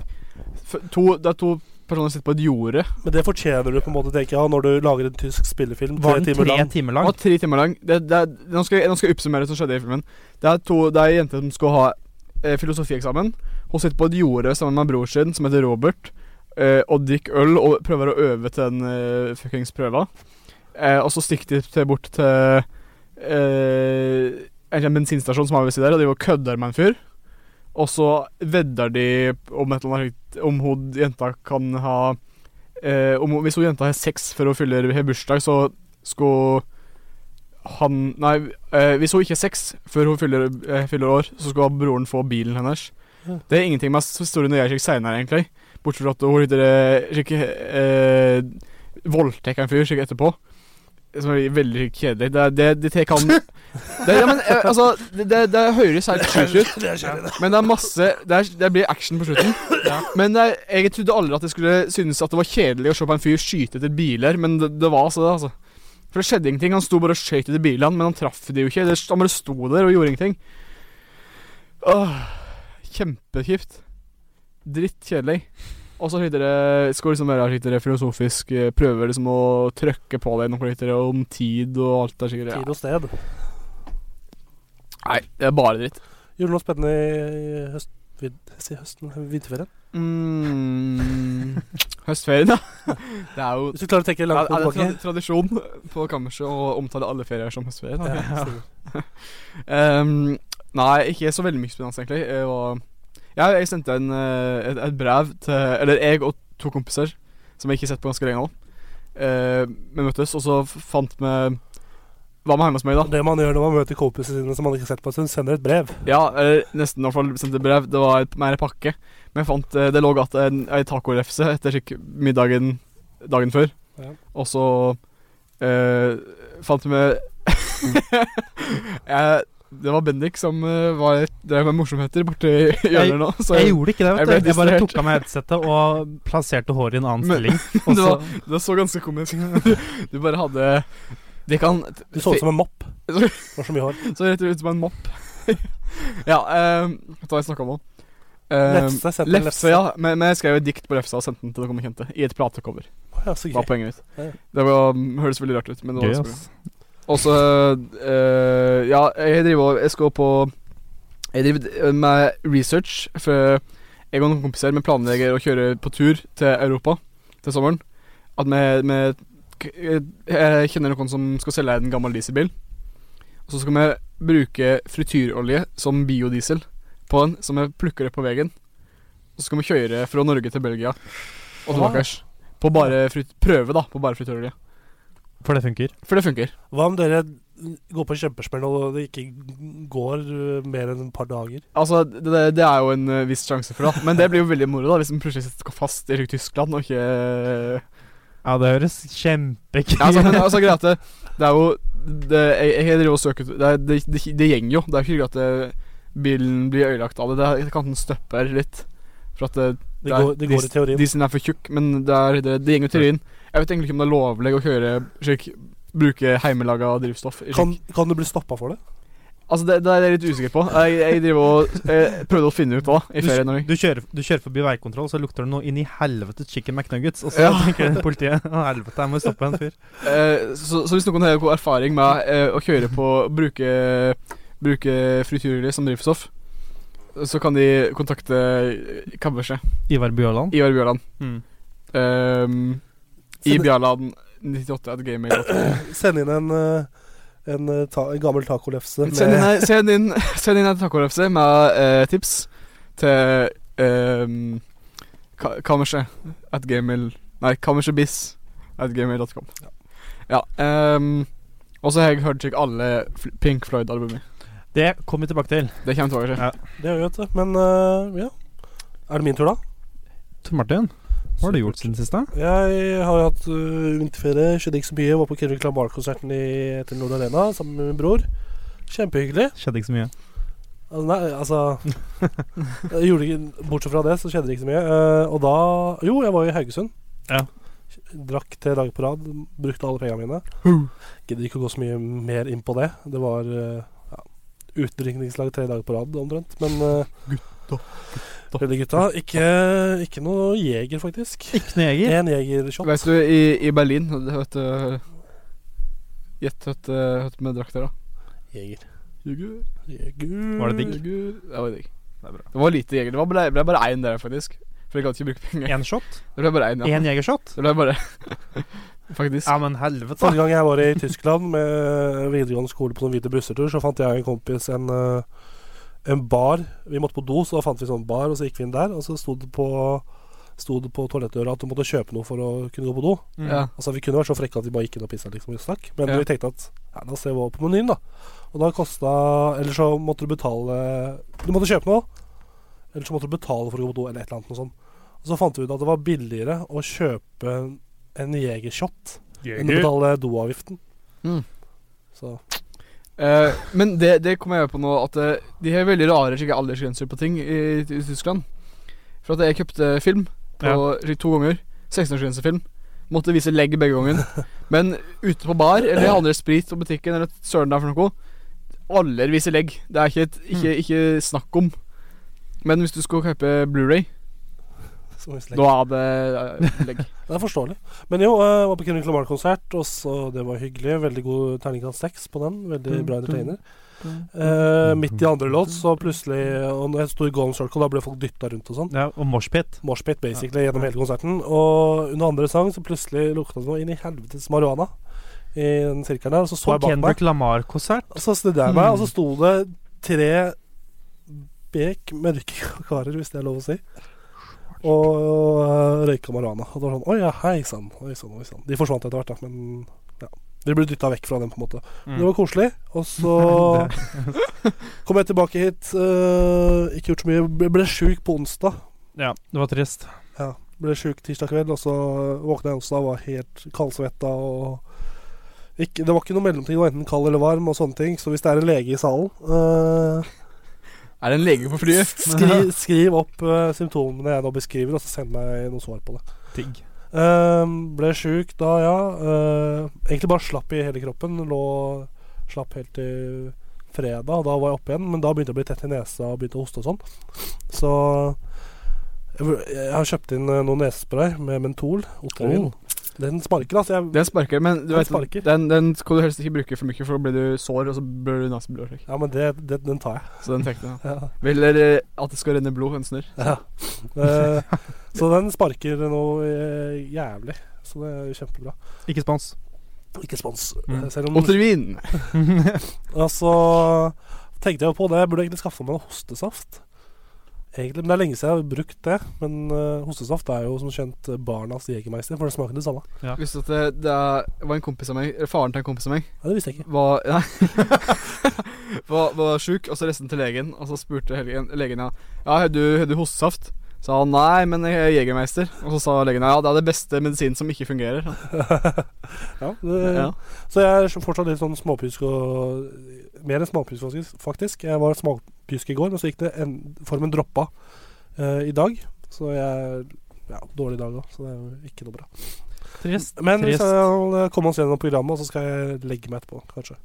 F to, det er to personer som sitter på et jorde. Men det fortjener du, på en måte, tenker jeg, når du lager en tysk spillefilm Var tre den timer tre lang. timer Den lang? var tre timer lang. Det, det, er- nå, skal, jeg- nå skal jeg oppsummere det som skjedde i filmen. Det er to Det er ei jente som skal ha eh, filosofieksamen. Hun sitter på et jorde sammen med bror sin, som heter Robert, eh, og drikker øl og prøver å øve til den eh, fuckings prøva. Eh, og så stikker de til, bort til eh, en bensinstasjon som har ved siden der, og de kødder med en fyr. Og så vedder de om et eller annet slikt- Om hun jenta kan ha eh, om, hun- Hvis hun jenta har sex før hun fyller har bursdag, så skal han Nei, eh, hvis hun ikke har sex før hun fyller, eh, fyller år, så skal broren få bilen hennes. Ja. Det er ingenting med historien jeg fikk seinere, egentlig. Bortsett fra at hun litt eh, slik, eh, voldtekter en fyr slik etterpå. Som er veldig kjedelig. Det, er- det, det tar han det, ja, men, eh, altså, det, det, det høres helt sjukt ut. Det er kjedelig, det. Men det er masse Det, er, det blir action på slutten. Men det er, jeg trodde aldri at jeg skulle synes at det var kjedelig å se på en fyr skyte etter biler, men det, det var altså det, altså. For det skjedde ingenting. Han sto bare og skøyt etter bilene, men han traff de jo ikke. Det, han bare sto der og gjorde ingenting. Åh, Kjempekjipt. Drittkjedelig. Og så heter det- skal liksom være heter det, filosofisk eh, prøver liksom å trøkke på deg noe heter det, om tid og alt der sikkert. Tid Ja. og sted. Nei, det er bare dritt. Gjorde du noe spennende i høst... Vid, si høsten? Vinterferien? Mm, høstferien, da. Det er jo Hvis du klarer å tenke ja, er langt det nok tra tilbake. tradisjon på kammerset å omtale alle ferier som høstferie? da? Ja, stemmer. Ehm, nei, ikke så veldig mye spennende, egentlig. Jeg, var, ja, jeg sendte en, eh, et, et brev til Eller jeg og to kompiser, som jeg ikke har sett på ganske lenge nå. Eh, vi møttes, og så f- fant vi Var vi hjemme hos meg, da? Det man gjør når man møter kompisene sine som man ikke har sett på en stund, sender et brev. Ja, eller nesten i hvert fall sendte brev. Det var et, mer en pakke. Men jeg fant eh, Det lå igjen en, ei tacorefse etter slik middagen dagen før. Ja. Og så eh, fant vi *laughs* jeg, Det var Bendik som eh, var, drev med morsomheter borti hjørnet nå. Så Jeg jeg, gjorde ikke det, jeg vet ble du. Jeg bare distrahert. tok av meg headsetet og plasserte håret i en annen Men- stilling. Og det, så var, det så ganske komisk *laughs* Du bare hadde Det kan Du så ut som en mopp. Sorry. Det var så mye hår. Så rett ut som en mopp. ja, um, hva har jeg snakka om nå? *laughs* Eh, Lefse. Sendte en Lefse, ja. Men, men jeg skrev et dikt på lefsa og sendte den til noen bekjente. I et platecover. Ja, så var gøy. poenget mitt. Ja. Det var, høres veldig rart ut, men det var gøy, også bra. ass. Og så eh, Ja, jeg driver og Jeg skal på Jeg driver med research. For jeg og noen kompiser Vi planlegger å kjøre på tur til Europa til sommeren. At vi, vi k- eh, Jeg kjenner noen som skal selge en gammel dieselbil. Og så skal vi bruke frityrolje som biodiesel på den, som vi plukker opp på veien. Og så skal vi kjøre fra Norge til Belgia og tilbake. På bare frit prøve, da, på bare frityrolje. For det funker. For det funker. Hva om dere går på en kjempesmell og det ikke går øh, mer enn et par dager? Altså, det, det- det er jo en ø, viss sjanse for det. da. Men det blir jo veldig moro da hvis man plutselig sitter fast i Tyskland og ikke eh, Ja, det høres ja, altså, men kjempekult ut. altså, greit, det, det er jo det, jeg, jeg driver og søker ut- det, er- det, det, det gjenger jo. Det er ikke greit at det, bilen blir ødelagt av det. Det er- kan den støpper litt. For at eh, det, Det Nei, går, de- det går i teorien. de som er for tjukk, men det, er, det, det gjenger jo teorien. Jeg vet egentlig ikke om det er lovlig å kjøre slik Bruke heimelaga drivstoff. i slik- Kan, kan du bli stoppa for det? Altså, det, det er jeg litt usikker på. Jeg, jeg driver og jeg prøvde å finne ut da, i Du, ferien. når jeg- du, kjører, du kjører forbi veikontroll, så lukter det noe inn i helvetes chicken McNuggets. Og så Ja. tenker politiet *laughs* Å, helvete, her må vi stoppe en fyr. Eh, så, så hvis noen har god erfaring med eh, å kjøre på bruke, bruke frityrolje som drivstoff, så kan de kontakte kammerset. Ivar Bjørland. Ivar Bjørland. Mm. Um, I Send- Bjørland 98 at gmail.com. Send inn en, øh, en, øh, ta, en gammel tacolefse Send inn, med ei- Eh, send inn, send inn en tacorefse med eh, tips til um, ka kammerset at gmail Nei, kammersetbiss at gmail.com. Ja. ehm, og så har jeg hørt sikkert alle Fl- Pink Floyd-albumer. Det kommer vi tilbake til. Det kommer tilbake til. Det gjør vi, vet du. Men øh, ja. Er det min tur, da? Tor Martin, hva har du gjort siden sist? da? Jeg har jo hatt øh, vinterferie, skjedde ikke så mye. Var på Kendrick Lamar-konserten i- etter Nord Arena sammen med min bror. Kjempehyggelig. Skjedde ikke så mye. Altså, Nei, altså jeg gjorde ikke, Bortsett fra det, så skjedde det ikke så mye. Eh, og da Jo, jeg var i Haugesund. Ja. Drakk tre dager på rad. Brukte alle pengene mine. Gidder ikke å gå så mye mer inn på det. Det var eh, ja, utdrikningslag tre dager på rad, omtrent. Men eh, Veldig gutta. Ikke, ikke noe jeger, faktisk. Ikke noe jeger. Én jegershot. Vet du, i, i Berlin vet du, eh, Gjett hva det med drakt der, da. Jeger. Jeger. Jeger. Var det digg? Jeger. Det var digg. Det er bra. Det var lite jeger. Det var ble, ble bare én der, faktisk. For jeg gadd ikke bruke penger. Én shot? Det ble bare én, ja. Én jegershot? Det ble bare *laughs* Faktisk. Ja, men helvete. Forrige gang jeg var i Tyskland med videregående skole på noen hvite bussetur, så fant jeg og en kompis en, eh, en bar. Vi måtte på do, så da fant vi sånn bar, og så gikk vi inn der. Og så sto det på, sto det på toalettdøra at du måtte kjøpe noe for å kunne gå på do. Mm. Ja. Altså Vi kunne vært så frekke at vi bare gikk inn og pissa, liksom, og snakk. men Ja. vi tenkte at ja, da ser vi over på menyen, da. Og da kosta Eller så måtte du betale Du måtte kjøpe noe, eller så måtte du betale for å gå på do, eller et eller annet noe sånt. Og så fant vi ut at det var billigere å kjøpe en jegershot enn å betale doavgiften. Mm. Så Eh, men det, det kommer jeg på nå, at eh, de har veldig rare slike aldersgrenser på ting i, i Tyskland. For at jeg kjøpte film på Ja. slik to ganger. 16-årsgrensefilm. Måtte vise legg begge gangen. Men ute på bar eller andre sprit på butikken eller søren der for noe, alle viser legg. Det er ikke, et, ikke, ikke snakk om. Men hvis du skulle kjøpe Blu-ray så visst da er det eh, legg. Det er forståelig. Men jo, jeg var på Kendrick Lamar-konsert, og så det var hyggelig. Veldig god terningkast seks på den. Mm. Veldig bra entertainer. Eh, midt i andre låt, så plutselig Og når jeg sto i Golden Circle, da ble folk dytta rundt og sånn. Ja, og moshpit. Moshpit basically gjennom hele konserten. Og under andre sang så plutselig lukta det noe inn i helvetes marihuana i den sirkelen der. Og så så På jeg bak meg. Kendrick Lamar-konsert. Og så snudde jeg meg, og så sto det tre bek mørke *laughs* karer, hvis det er lov å si. Og øh, røyka marihuana. Og det var sånn Oi ja, hei sann. Oi sann, oi sann. De forsvant etter hvert, da. Men ja. De ble dytta vekk fra dem, på en måte. Mm. Men Det var koselig. Og så kom jeg tilbake hit. øh, ikke gjort så mye. Ble, ble sjuk på onsdag. Ja, det var trist. Ja. Ble sjuk tirsdag kveld, og så våkna jeg onsdag og var helt kaldsvetta og ikke, Det var ikke noe mellomting, det var enten kald eller varm og sånne ting. Så hvis det er en lege i salen eh, Er det en lege på flyet? *laughs* skri, Skriv opp eh, symptomene jeg nå beskriver, og så send meg noe svar på det. Digg. Eh, ble sjuk da, ja. eh, egentlig bare slapp i hele kroppen. Lå Slapp helt til fredag, og da var jeg oppe igjen. Men da begynte jeg å bli tett i nesa og begynte å hoste og sånn. Så jeg, vur- jeg har kjøpt inn eh, noe nesespray med Mentol. Otrivin. Den sparker, altså. Jeg, Den Oh. sparker, men du Den vet, sparker. den, den skal du helst ikke bruke for mye, for da blir du sår, og så blir du neseblod. slik. ja, men det, det, den tar jeg. Så den trekker du. Ja. Eller eh, at det skal renne blod, en snørr. Ja. Eh, så den sparker noe eh, jævlig. Så det er jo kjempebra. Ikke spons. Ikke spons. Mm. Eh, Selv om Otrivin! Altså tenkte jeg jo på det. Jeg burde egentlig skaffa meg noe hostesaft. Egentlig, men Det er lenge siden jeg har brukt det. Men eh, hostesaft er jo som kjent barnas jegermeister, for det smaker det samme. Visste du at eh, det, det er- var en kompis av meg, eller faren til en kompis av meg, Nei, det visste jeg ikke. *laughs* var *laughs* Nei. var, var sjuk, og så reiste han til legen, og så spurte helgen, legen ja, ja har du, har du hostesaft? Sa han nei, men jeg er jegermeister. Og så sa legen ja, det er det beste medisinen som ikke fungerer. *laughs* Ja, det, Ja. Så jeg er fortsatt litt sånn småpjusk og Mer enn småpjusk, faktisk- faktisk. Jeg var småpjusk i går, men så gikk det en, formen droppa eh, i dag. Så jeg er ja, dårlig i dag òg, så det er jo ikke noe bra. Trist. Men vi Trist. skal eh, komme oss gjennom programmet, og så skal jeg legge meg etterpå, kanskje.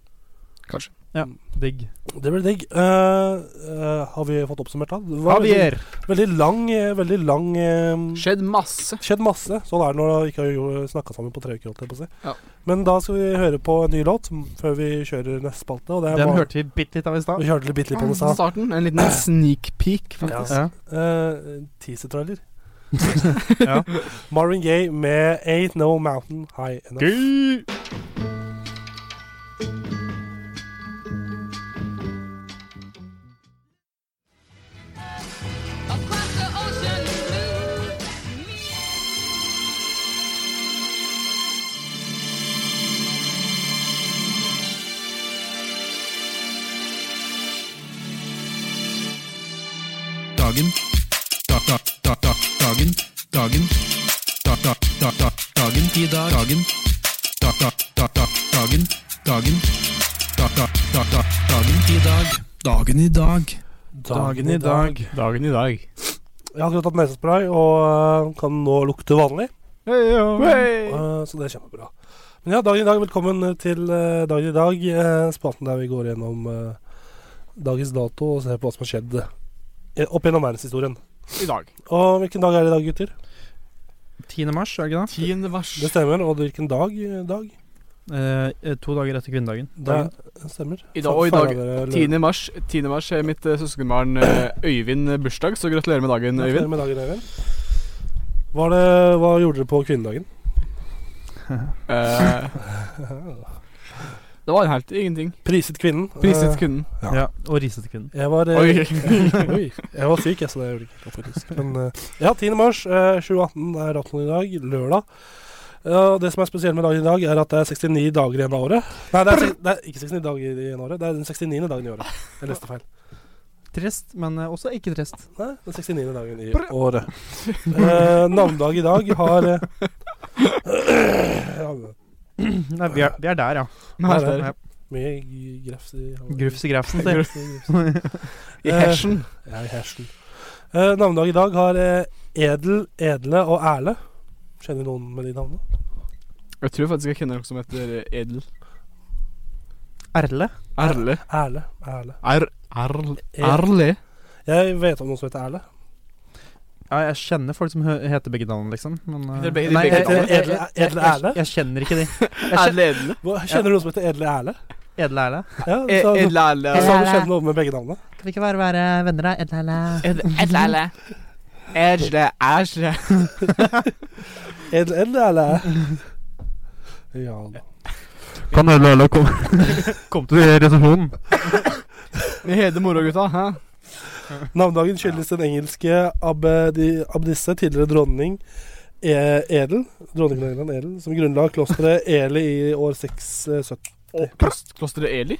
Digg. Det blir digg. Eh, eh, har vi fått oppsummert, da? Det var veldig, Javier. veldig lang, eh, veldig lang eh, Skjedd masse. skjedd masse. Sånn er det når vi ikke har snakka sammen på tre uker. holdt jeg på å si. Ja. Men da skal vi høre på en ny låt m, før vi kjører neste spalte. Og det er Den bare- hørte vi bitte litt av i stad. Vi hørte litt, bitte litt på den i stad. Starten, en liten sneak peek. Ja. faktisk. Ja. Eh, Teaser-trailer. Ja. Marvin Gaye med 'Ain't No Mountain High Enough'. Across the ocean blue, me Dagen. Da, da, da, da, dagen. Dagen. Da, da, da, da, dagen. I dag. Dagen. Da, da, da, da, dagen. Dagen. Da, da, da, da, dagen. I dag. Dagen i dag. Dagen i dag. Dagen i dag. Jeg har akkurat tatt nesespray og eh, kan nå lukte vanlig, eh, så det er kjempebra. Men ja, dagen i dag, velkommen til eh, dagen i dag. eh, Spalten der vi går gjennom eh, dagens dato og ser på hva som har skjedd eh, opp gjennom verdenshistorien. i dag. Og hvilken dag er det i dag, gutter? 10. mars, er det ikke det? Tiende vers. Det stemmer. Og hvilken dag? eh, dag? Eh, eh, to dager etter kvinnedagen. Dagen. Det eh, stemmer. eh, I dag, og i dag. Faen, er det lø- 10. mars, 10. mars er mitt eh, søskenbarn eh, Øyvind eh, bursdag, så gratulerer med dagen, Gratulerer Øyvind. med dagen, Øyvind. Var det, hva gjorde dere på kvinnedagen? *laughs* Eh, det var helt ingenting. Priset kvinnen. Priset Eh, kunden. Ja. Ja. Og risete kvinnen. Jeg var, eh, Oi. *laughs* Oi. Jeg var syk, jeg, så det gjorde ikke noe faktisk. Men eh, ja, 10. mars eh, 2018 er datten i dag, lørdag. Eh, Og det som er spesielt med dagen i dag, er at det er 69 dager igjen av året. Nei, det er, se- det er ikke 69 dager igjen av året, det er den 69. dagen i året. Jeg leste feil. Trist, men eh, også ikke trist. *clears throat* Nei, den 69. dagen i året. Eh, navnedag i dag har eh, *clears throat* ja, Nei, vi er, vi er der, ja. sånn, Med Her er her. Ja. Mye g- grefs i Grufs i grefsen, sier Grufs i grefs. *laughs* I hesjen. Jeg er hersen. Eh, navnedag i dag har eh, Edel, Edle og Erle. Kjenner du noen med de navnene? Jeg tror faktisk jeg kjenner noen som heter eh, Edel. Eh, Erle. Erle. Erle. Erle. Er, erl, erle. Jeg vet om noen som heter Erle. Ja, jeg kjenner folk som hø- heter begge navn, liksom. Men eh, Heter begge- de Nei, begge jeg- navn? jeg- Edle- jeg- jeg- Edle Erle? jeg- Jeg kjenner ikke de. Erle Edle. Hva, kjenner du noen som heter Edle Erle? Edle Erle. Ja, Eh, så, Edle Erle. så, så du kjenner noen med begge navnene? Kan vi ikke bare være venner, da? Edle Erle. Edle Erle. Edle Erle. Edle, Edle Erle. *laughs* Ja da. Kan Edle Erle komme *laughs* Kom til resepsjonen? Vi heter moro, gutta. Hæ? Navnedagen skyldes den engelske abedi, abdisse, tidligere dronning eh, Edel, dronningen av England Edel, som grunnla klosteret Eli i år 670. Og klost, klosteret Eli.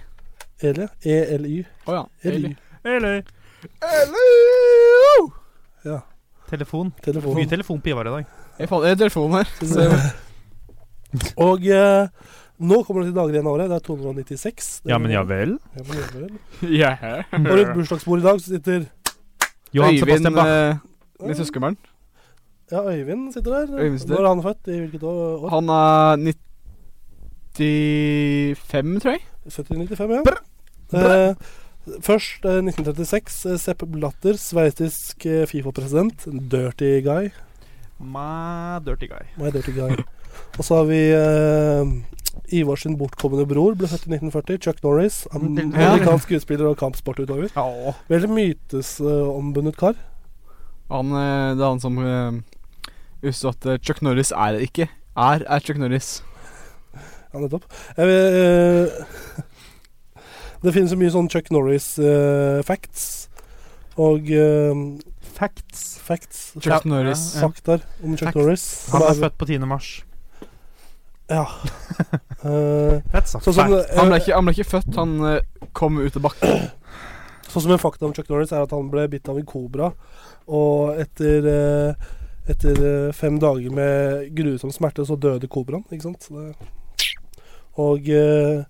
Eli? E E-L-Y. Å ja. Eli. Eller Eli. Ja. Telefon. Telefon. Mye telefon på Ivar i dag. Jeg fant en telefon her. Og eh, nå kommer det til dager igjen av året. Det er 296. Det er- vel. Ja, men ja vel. Yeah. Og rundt bursdagsbordet i dag så sitter Johan Øyvind, Sebastian Bach. eh, min søskenbarn, Ja, Øyvind sitter der. Øyvind sitter der. Når er han født? I hvilket år? år? han er 95, tror jeg. 1795, ja. Eh, først eh, 1936. Eh, Sepp Blatter, sveitsisk eh, Fifa-president. Dirty guy. My dirty guy. My dirty guy. Og så har vi eh, Ivar sin bortkomne bror, ble født i 1940. Chuck Norris. am- Ja. Amerikansk skuespiller og kampsportutøver. Ja. Veldig mytesombundet eh, kar. Han, eh, det er han som eh, visste at eh, Chuck Norris er det ikke. Er, er Chuck Norris. Ja, nettopp. Jeg vil, eh, *laughs* det finnes jo mye sånn Chuck Norris-facts. og eh, Facts. facts Chuck Ja. Norris. Ja. fakter om Chuck Facts. Norris. Han Som er er- født på 10. mars. Ja. Eh, That's a sånn, som, fact. Han ble, eh, ikke, han ble ikke født, han eh, kom ut av bakken. sånn som en fakta om Chuck Norris er at han ble bitt av en kobra, og etter eh, etter eh, fem dager med grusom smerte, så døde kobraen. Ikke sant? Så det, og, eh,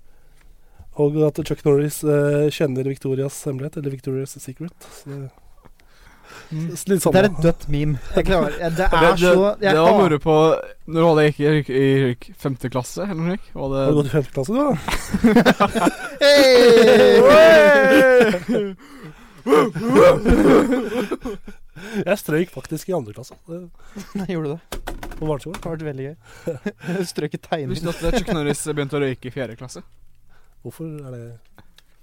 og at Chuck Norris eh, kjenner Victorias hemmelighet, eller Victorias secret. Så det, Mm. Litt sånn. Det er et dødt meme. *laughs* Jeg klarer ja, Det Det, er det, så det jeg, var hater- moro på Når var det jeg gikk i, i, i femte klasse, eller noe slikt? Var Har du det gått i femte klasse, du, da? *laughs* Jeg strøyk faktisk i andre klasse. Det- Nei, Gjorde du det? På barneskolen. Det har vært *laughs* veldig gøy. Jeg Strøk i tegning. Visste du at eh, Chuck Norris begynte å røyke i fjerde klasse? Hvorfor er det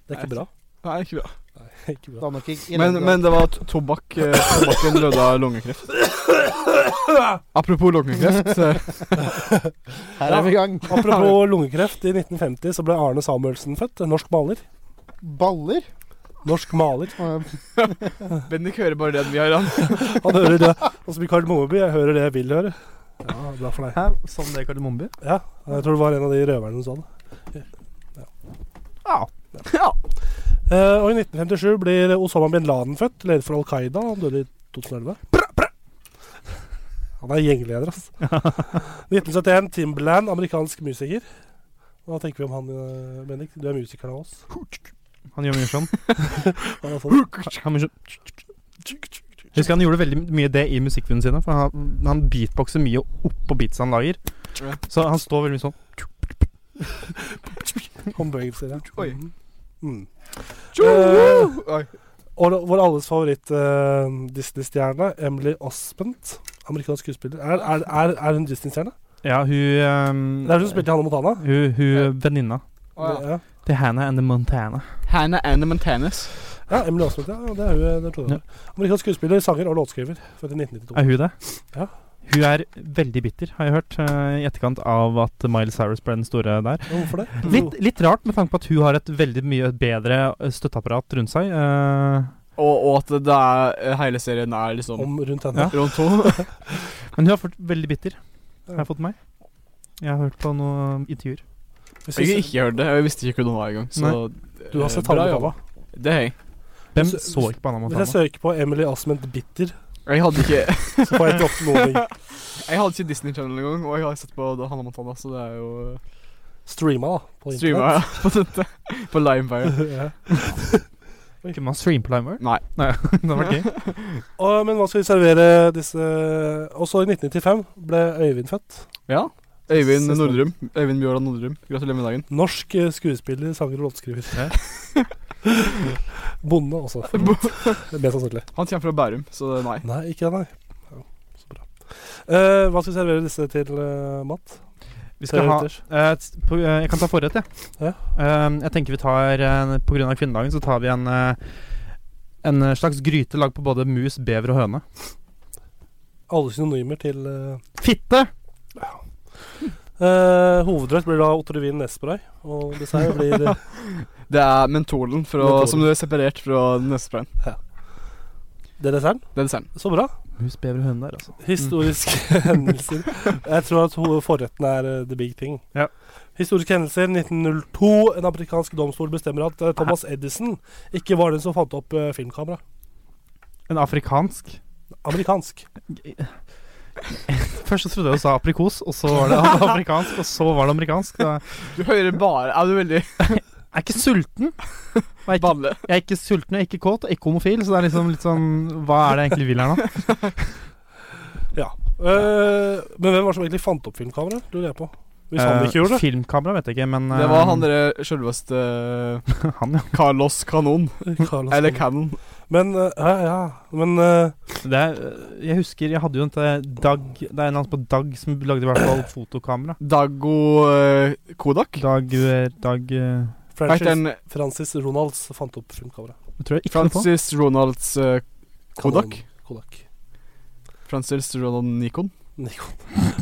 Det er ikke bra. *laughs* Nei, ikke bra. Det er ikke bra. Da nok ikke- i Men, den grad. men det var to- tobakk. eh, Tobakken døde av lungekreft. Apropos lungekreft. eh, Her er vi i gang. Apropos lungekreft. I 1950 så ble Arne Samuelsen født. en Norsk maler. Baller? Norsk maler. *laughs* Bendik hører bare det vi har han. Han hører det. Og som i Karl Moby, jeg hører det jeg vil høre. Ja, bra for deg. Hæ? Sånn det er Kardemommeby? Ja, jeg tror det var en av de røverne som sa det. Ja. Eh, og i 1957 blir Osama bin Laden født, leder for Al Qaida. Han døde i 2011. Han er gjengleder, *laughs* ass. 1971, Timberland, amerikansk musiker. Hva tenker vi om han, eh, Bendik? Du er musikeren av oss. Han gjør mye *laughs* sånn. Han er sånn. Han gjør sånn. Husker han gjorde veldig mye det i musikkvideoene sine. For han, han beatboxer mye oppå beats han lager. Ja. Så han står veldig mye sånn. Han beveger seg, ja. Oi. Mm. Tjo! Eh, Oi. Og vår alles favoritt-Disney-stjerne, Emily Ospent, amerikansk skuespiller Er, er, er, er hun Disney-stjerne? Ja, hun ehm, Det um, er hun som spilte Hanne Montana. Hun, hun venninna Å, ja. ja. til Hannah and the Montana. Hannah Anna Montanas. ja, Emily Ospent, ja. Det er hun. Det tror jeg. Amerikansk skuespiller, sanger og låtskriver. Født i 1992. Er hun det? Ja. Hun er veldig bitter, har jeg hørt, eh, i etterkant av at Miley Cyrus ble den store der. Ja, Hvorfor det? Litt, litt rart, med tanke på at hun har et veldig mye bedre eh, støtteapparat rundt seg. eh, Og, og at det er, eh, hele serien er liksom Om rundt henne. Ja. rundt henne. men hun er fort veldig bitter, har jeg fått med meg. Jeg har hørt på noen intervjuer. Hvis Jeg har du, ikke hørt det. Jeg visste ikke hvem hun var engang. Så du har sett eh, bra Hanne jobba. Montana. Det har jeg. Hvem Hvis- så ikke på Anna Hvis jeg Montana? søker på Emily Osment Bitter, Jeg hadde ikke så får jeg ikke opp noen ting. Jeg hadde ikke Disney Channel engang, og jeg har sett på Hanna Montana, så det er jo Streama, da. På internett. Streama ja, på dette. På Limefire. *laughs* ja. Kunne man streame på Limework? Nei. Nei, *laughs* det hadde vært gøy. og, men hva skal vi servere disse Og så i 1995 ble Øyvind født. Ja. Øyvind Nordrum. Øyvind Bjørland Nordrum. Gratulerer med dagen. Norsk eh, skuespiller, sanger og låtskriver. *laughs* Bonde også. Mest sannsynlig. Han kommer fra Bærum, så nei. Nei, ikke det, nei. Ja, så bra. Eh, hva skal vi servere disse til eh, mat? Vi skal ha Treretters. eh, t- på, eh, Jeg kan ta forrett, jeg. Ja. Eh, jeg tenker vi tar eh, På grunn av kvinnedagen så tar vi en eh, en eh, slags gryte lagd på både mus, bever og høne. Alle synonymer til eh, Fitte! eh, Hovedrett blir da Ottervin Nesbray. Og dessert blir eh, Det er mentolen fra, Mentolen. som du er separert fra nesesprayen. det desserten. Det er desserten. Så bra. Mus, bever og høne der, altså. Historiske *laughs* hendelser. Jeg tror at ho- forretten er eh, the big thing. Ja. Historiske hendelser 1902. En amerikansk domstol bestemmer at eh, Thomas Edison ikke var den som fant opp eh, filmkamera. En afrikansk Amerikansk. Først så trodde jeg du sa aprikos, og så var det *laughs* afrikansk, og så var det amerikansk. Da- Du hører bare Er du veldig Jeg er ikke sulten. Og Jeg er ikke, balle? jeg er ikke sulten, jeg er ikke kåt, og ikke homofil, så det er liksom litt sånn Hva er det jeg egentlig vil her nå? Eh, men hvem var det som egentlig fant opp filmkamera? Lurer jeg på. Hvis han Eh, ikke gjorde det. Filmkamera vet jeg ikke, men Det var han derre sjølveste eh, *laughs* han, ja. Carlos Kanon. *laughs* Carlos Eller Slim. Cannon. Men eh, ja, ja. Men eh, Det er, eh, jeg husker jeg hadde jo en til Dag Det er en eller annen på Dag som lagde i hvert fall fotokamera. Dago eh, Kodak. Dag eh, Dag eh, Heter Francis, han Francis Ronalds fant opp filmkamera. Jeg tror jeg ikke noe på. Francis Ronalds eh, Kodak? Kanon- Kodak. Francis Ronald Nikon? Nikon.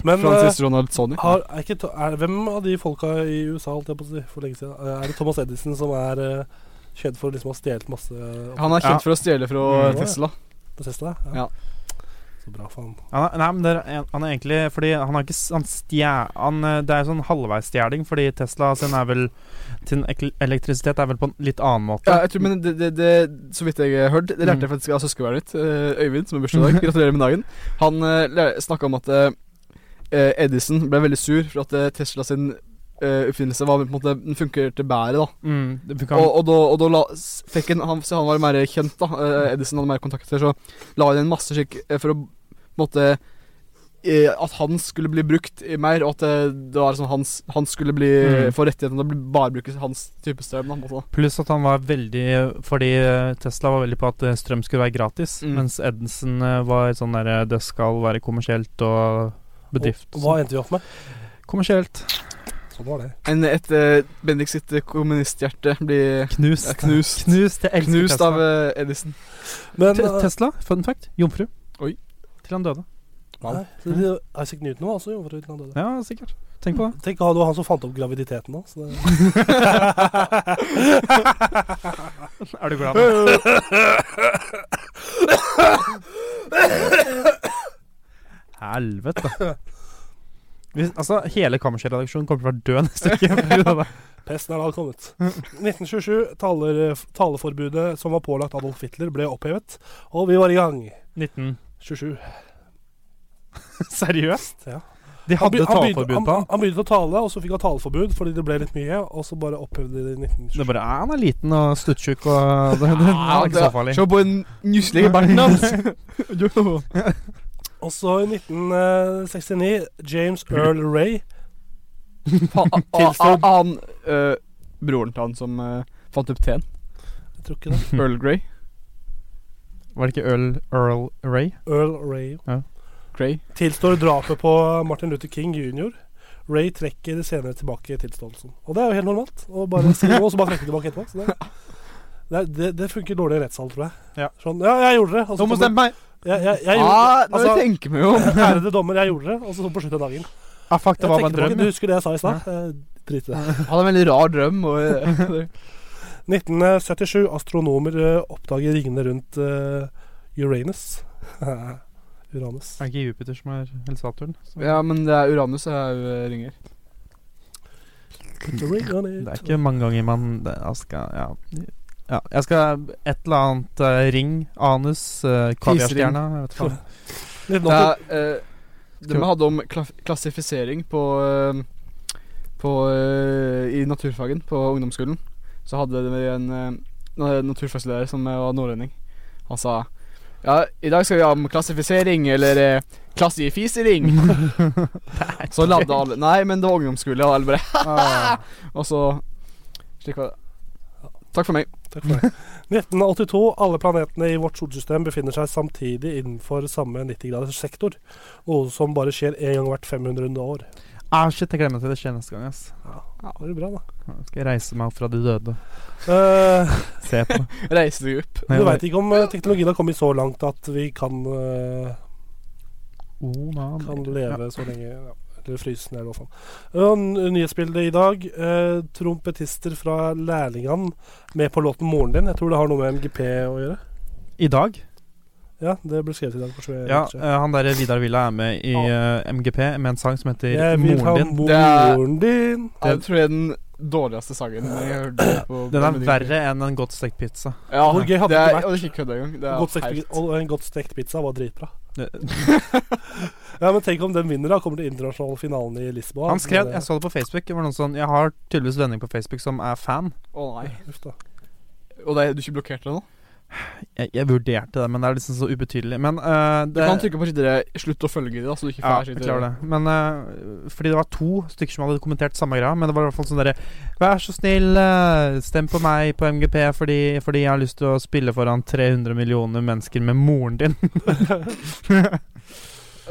Men eh, Francis Ronald Sony? Har, er ikke, to- er, hvem av de folka i USA holdt jeg på å si, for lenge siden? eh, Er det Thomas Edison som er eh, kjent for liksom å ha stjålet masse opp Han er Ja. kjent for å stjele fra Mm. Tesla. på Tesla? Ja. Så bra, faen. Han er, nei, men det er, en- han er egentlig Fordi han har ikke s- han stjæ, han, eh, Det er sånn halvveisstjeling, fordi Tesla sin er vel Sin ek- elektrisitet er vel på en litt annen måte. Ja, jeg tror, men det, det, det, så vidt jeg har hørt Det lærte jeg faktisk av søskenbarnet mitt, eh, Øyvind, som har bursdag i dag. Gratulerer med dagen. Han uh, snakka om at eh, Edison ble veldig sur for at eh, Tesla sin eh, oppfinnelse var på en måte Den funkerte bedre, da. Mm, det- vi kan- Og, og da, og da la, s- fikk han, han Så han var mer kjent, da. eh, Edison hadde mer kontakter, så la han inn masse slik eh, for å på en måte eh, at han skulle bli brukt i mer, og at eh, det var sånn hans, han skulle bli Mm. få rettighetene til å bli- bare bruke hans type strøm. Da, på en måte, da. Pluss at han var veldig Fordi eh, Tesla var veldig på at eh, strøm skulle være gratis, Mm. mens Edison eh, var sånn derre Det skal være kommersielt og bedrift. Og, hva endte vi opp med? kommersielt. Sånn var det. enn et uh, Bendik sitt eh, kommunisthjerte blir Knust. ja, knust. Knust. Jeg elsker Knust Tesla. av eh, *laughs* Edison. Men Te- eh, Tesla, fun fact, jomfru. Oi. Til han døde. nei, så det- Isaac Newton var også jomfru til han døde. Ja, sikkert. Tenk på det. Tenk, det var han som fant opp graviditeten da. Så det, *laughs* Er du glad nå? Helvete. Hvis, altså, hele Kammerset-redaksjonen kommer til å være død neste uke. på grunn av det. pesten er da kommet. 1927. Taler, taleforbudet som var pålagt Adolf Hitler, ble opphevet. Og vi var i gang. 19. 27. Seriøst? Ja. De Han be- hadde han begynte- taleforbud på han. han. Han begynte å tale, og så fikk han taleforbud fordi det ble litt mye. Og så bare opphevde de det i 1927. Det bare er Han er liten og stuttjukk og *laughs* det, det, det er ikke så farlig. Se på den nusselige berten *laughs* *laughs* hans! Og så i 1969 James Earl Ray. Han- Tilstå. han- Han eh, broren til han som eh, fant opp teen. Hm. Jeg tror ikke det. Earl Grey. Var det ikke Earl, Earl Ray? Earl Ray Grey. tilstår drapet på Martin Luther King jr. Ray trekker senere tilbake tilståelsen. Og det er jo helt normalt. Å bare si noe, og så bare trekke tilbake etterpå. Så det, det, det, det funker dårlig i rettssal, tror jeg. Ja. Sånn, ja, jeg gjorde det. Og så kommer- meg! jeg, jeg, jeg gjorde Ah, nå altså- tenker *laughs* vi jo. det. *laughs* Ærede dommer, jeg gjorde det. Og så på slutten av dagen. Ja, Jeg fuck, det var trekker bare en tilbake. drøm. Du husker det jeg sa i stad? Eh, Drit i det. Hadde en veldig rar drøm. Og, 1977. Astronomer eh, oppdager ringene rundt eh, Uranus. *laughs* Uranus. Er det ikke Jupiter som er Eller Saturn? Så- *laughs* ja, men det er Uranus jeg eh, ringer. Det er ikke mange ganger man det, jeg skal, ja. ja. Jeg skal et eller annet eh, ring, anus, uh, kaviarstjerne jeg vet ikke hva. 1980 Det er eh, det vi hadde om kla klassifisering på, eh, på eh, I naturfagen på ungdomsskolen, så hadde vi en eh, na- naturfagslærer som eh, var nordlending. Han sa ja, i dag skal vi ha om klassifisering, eller eh, klassifisering. *laughs* *laughs* så ladde alle Nei, men det var ungdomsskole, og alle bare *laughs* *laughs* Og så Slik var det. Takk for meg. Takk for det. *laughs* 1982. Alle planetene i vårt solsystem befinner seg samtidig innenfor samme 90-graders sektor. Noe som bare skjer én gang hvert 500 år. Ah, shit, jeg glemmer til det skjer neste gang. Ass. Ja, det blir bra, da. Nå skal jeg reise meg opp fra de døde. Eh, Se *laughs* på det. Reise deg opp. du veit ikke om eh, teknologien har kommet så langt at vi kan, eh, Oh, man. kan leve så lenge ja. Eller fryse ned, eller hva faen. Og n- Nyhetsbildet i dag. eh, trompetister fra Lærlingan med på låten 'Moren din'. Jeg tror det har noe med MGP å gjøre. I dag? Ja, det ble skrevet i dag. for så vidt. Ja, eh, han der Vidar Villa er med i eh, MGP med en sang som heter jeg vil ha eh, Moren din. Det er- moren din. Jeg tror det er den dårligste sangen jeg hørte. på Den er på- verre enn en godt stekt pizza. Ja, Hvor gøy hadde det det er- vært? Og det er ikke kødd engang. Det er Godt stekt, helt- pi- og en godt stekt pizza var dritbra. Det- Ja, men Tenk om den vinner, da. Kommer til internasjonal finalen i Lisboa. Han skrev Men, eh, Jeg så det på Facebook. Det var noen sånn Jeg har tydeligvis venner på Facebook som er fan. Å nei. uff da. Og det, er- du ikke blokkerte det nå? Jeg, jeg vurderte det, men det er liksom så ubetydelig. Men eh, Du det kan trykke på sitere 'slutt å følge de', da, så du ikke Ja, får jeg sitere- klarer det. Men eh, fordi det var to stykker som hadde kommentert samme greia, men det var i hvert fall sånn derre Vær så snill, eh, stem på meg på MGP fordi, fordi jeg har lyst til å spille foran 300 millioner mennesker med moren din.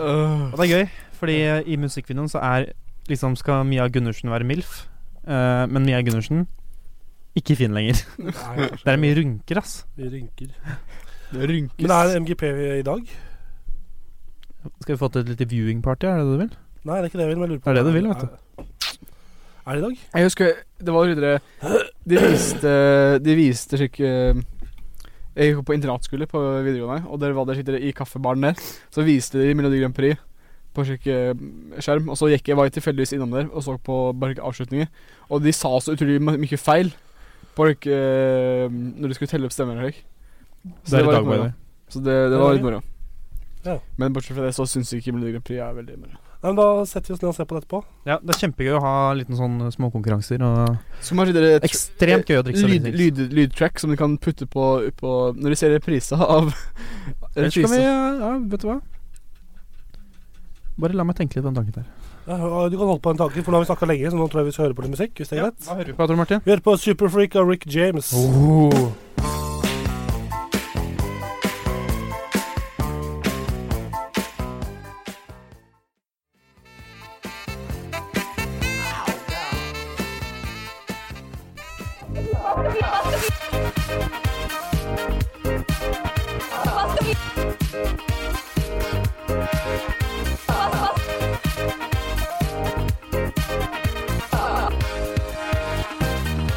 Øh. Og det er gøy, fordi eh, i musikkvideoen så er liksom skal Mia Gundersen være MILF, eh, men Mia Gundersen ikke fin lenger. Nei, Det er mye runker, ass. vi rynker. Det rynkes. Men er det MGP i dag? Skal vi få til et lite viewing party, er det det du vil? Nei, det er ikke det jeg vil. men jeg lurer på- Det er det du vil, vet du. Er det i dag? Jeg husker det var videre De viste De viste slik eh, Jeg gikk på internatskole på videregående, og der var det slik dere i kaffebaren der. Så viste de Melodi Grand Prix på slik eh, skjerm, og så gikk jeg var jeg tilfeldigvis innom der og så på bare slik avslutninger. Og de sa så utrolig my- mye feil på slik eh, Når de skulle telle opp stemmer. Slik. Så Det er i var dag, litt moro. bare. Så det, det var litt moro. Ja. Men bortsett fra det så syns jeg ikke Melodi Grand Prix er veldig moro. Nei, men Da setter vi oss ned og ser på det etterpå. Ja, det er kjempegøy å ha en liten sånn småkonkurranser. Og Så må jeg si dere ekstremt gøy å drikke seg lyd, litt. lyd, lydtrack som du kan putte på, på når du ser repriser av Ellers kan vi repriser. Ja, vet du hva? Bare la meg tenke litt på den tanken der. Ja, og du kan holde på en tanke, for nå har vi snakka lenge, så nå tror jeg vi skal høre på litt musikk. hvis det er greit. Hva hører vi på, Tor Martin? Vi hører på Superfreak av Rick James. Oh.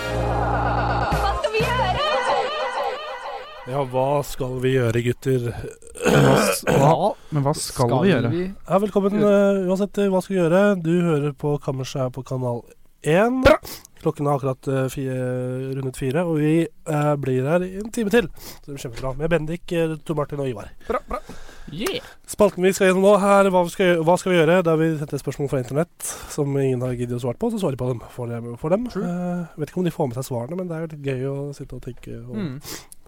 Hva skal vi gjøre? Ja, hva skal vi gjøre, gutter? Men hva skal, vi gjøre? Ja, velkommen eh, uansett til hva skal vi gjøre. Du hører på Kammerset her på kanal 1. Klokken har akkurat eh, fi- rundet fire, og vi eh, blir her i en time til. Så det blir kjempebra. Med Bendik, eh, Tor Martin og Ivar. Spalten vi skal gjennom nå, er hva vi skal, gjø- hva skal vi gjøre? Der vi setter spørsmål fra internett som ingen har giddet å svare på, så svarer de på dem for dem. For dem. Eh, vet ikke om de får med seg svarene, men det er jo litt gøy å sitte og tenke og Mm.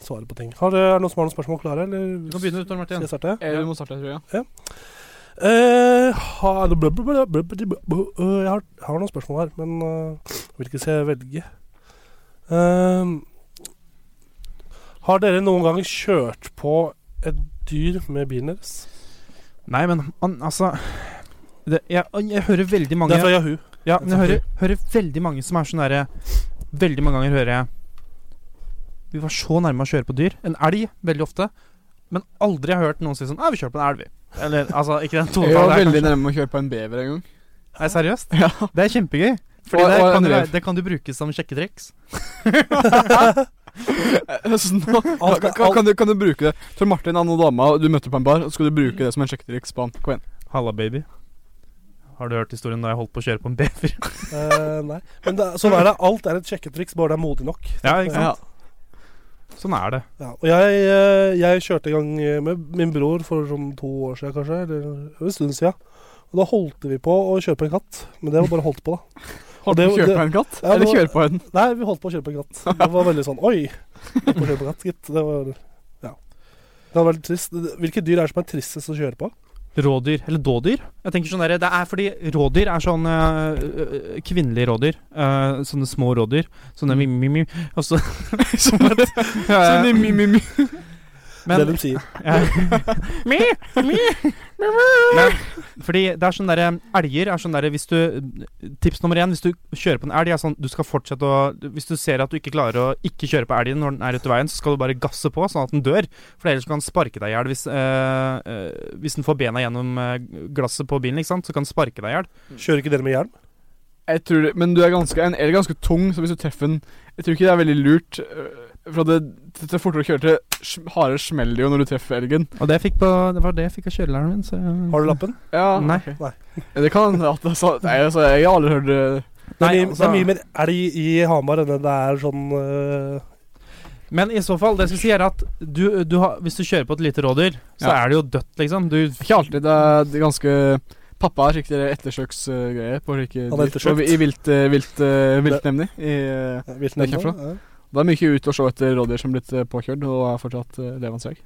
svare på ting. Har dere er det noen som har noen spørsmål klare, eller Du kan begynne, Tor skal Martin. jeg starte? Eh, du må starte, tror jeg. Eh, har, blub, blub, blub, blub, blub, blub, øh, jeg har, har noen spørsmål her, men uh, hvilke skal jeg velge? Eh, Ehm, har dere noen gang kjørt på et dyr med bilen deres? Nei, men han, altså det, jeg, jeg hører veldig mange Det er fra Yahoo. Ja, men jeg hører, hører veldig mange som er sånn derre Veldig mange ganger hører jeg Vi var så nærme å kjøre på dyr. En elg, veldig ofte. Men aldri har jeg hørt noen si sånn Ja, vi kjører på en elg, vi. Eller altså, ikke den *laughs* Jeg var tonen der. veldig kanskje. nærme å kjøre på en bever en gang. Nei, seriøst? Ja. Det er kjempegøy. Fordi Og- det, og en kan du, rev. *laughs* det kan du bruke som sjekketriks. Sånn, kan, kan, kan, du, kan du bruke det? Tor Martin han og dama, og du møtte på en bar, og så skal du bruke det som en sjekketriks på han. Kom igjen. Halla, baby. Har du hørt historien da jeg holdt på å kjøre på en bever? Eh, nei. Men det, sånn er det. Alt er et sjekketriks, bare det er modig nok. Ja, ikke Ja. sant? Sånn er det. Ja, og jeg, eh, jeg kjørte i gang med min bror for sånn to år siden, kanskje. Eller en stund siden. Og da holdt vi på å kjøpe en katt. Men det var bare holdt på, da. Holdt det- på å kjøre det- på en katt? Ja, det Eller var- kjøre på en Nei, vi holdt på å kjøpe en katt. Det var veldig sånn Oi! Holdt på å kjøpe en katt, gitt. Det var Ja. Det var veldig trist. Hvilke dyr er det som er tristest å kjøre på? Rådyr, eller dådyr. Jeg tenker sånn der, Det er fordi rådyr er sånn øh, øh, kvinnelige rådyr. øh, sånne små rådyr. Sånne mimimi Og så *laughs* Som et Sånn, øh, mi, mi, mi. det Men de sier. *laughs* ja. Mi, mi, mi, mi. Men, Fordi det er sånn derre Elger er sånn derre Hvis du Tips nummer én hvis du kjører på en elg, er sånn Du skal fortsette å Hvis du ser at du ikke klarer å ikke kjøre på elgen når den er ute i veien, så skal du bare gasse på sånn at den dør. For ellers kan den sparke deg i hjel. Hvis, eh, eh, hvis den får bena gjennom eh, glasset på bilen, ikke sant, så kan den sparke deg i hjel. Kjører ikke dere med hjelm? Jeg tror det, men du er ganske, en el er ganske tung, så hvis du treffer den Jeg tror ikke det er veldig lurt. øh, For at det, det er fortere å kjøre til sm- hardere smeller det jo når du treffer elgen. Og det, fikk på, det var det jeg fikk av kjørelæreren min. Så Har du lappen? Ja, Nei. ok. Nei. Ja, Det kan hende at det er sant. Nei, altså, jeg har aldri hørt eh, det Det er, Nei, mye, det altså- er mye mer elg i Hamar enn det er sånn eh, Men i så fall, det jeg skulle si, er at du, du har, hvis du kjører på et lite rådyr, så Ja. er det jo dødt, liksom. Du Ikke alltid. Det er, det er ganske Pappa er skikkelig ettersøksgreie på slike Han er dyr. Og vi- I vilt, eh, vilt, eh, viltnemnder. I, eh, Vietnam, Det er kjempebra. da. Ja. Da er mye ut og se etter rådyr som er blitt eh, påkjørt, og er fortsatt eh, levende søk.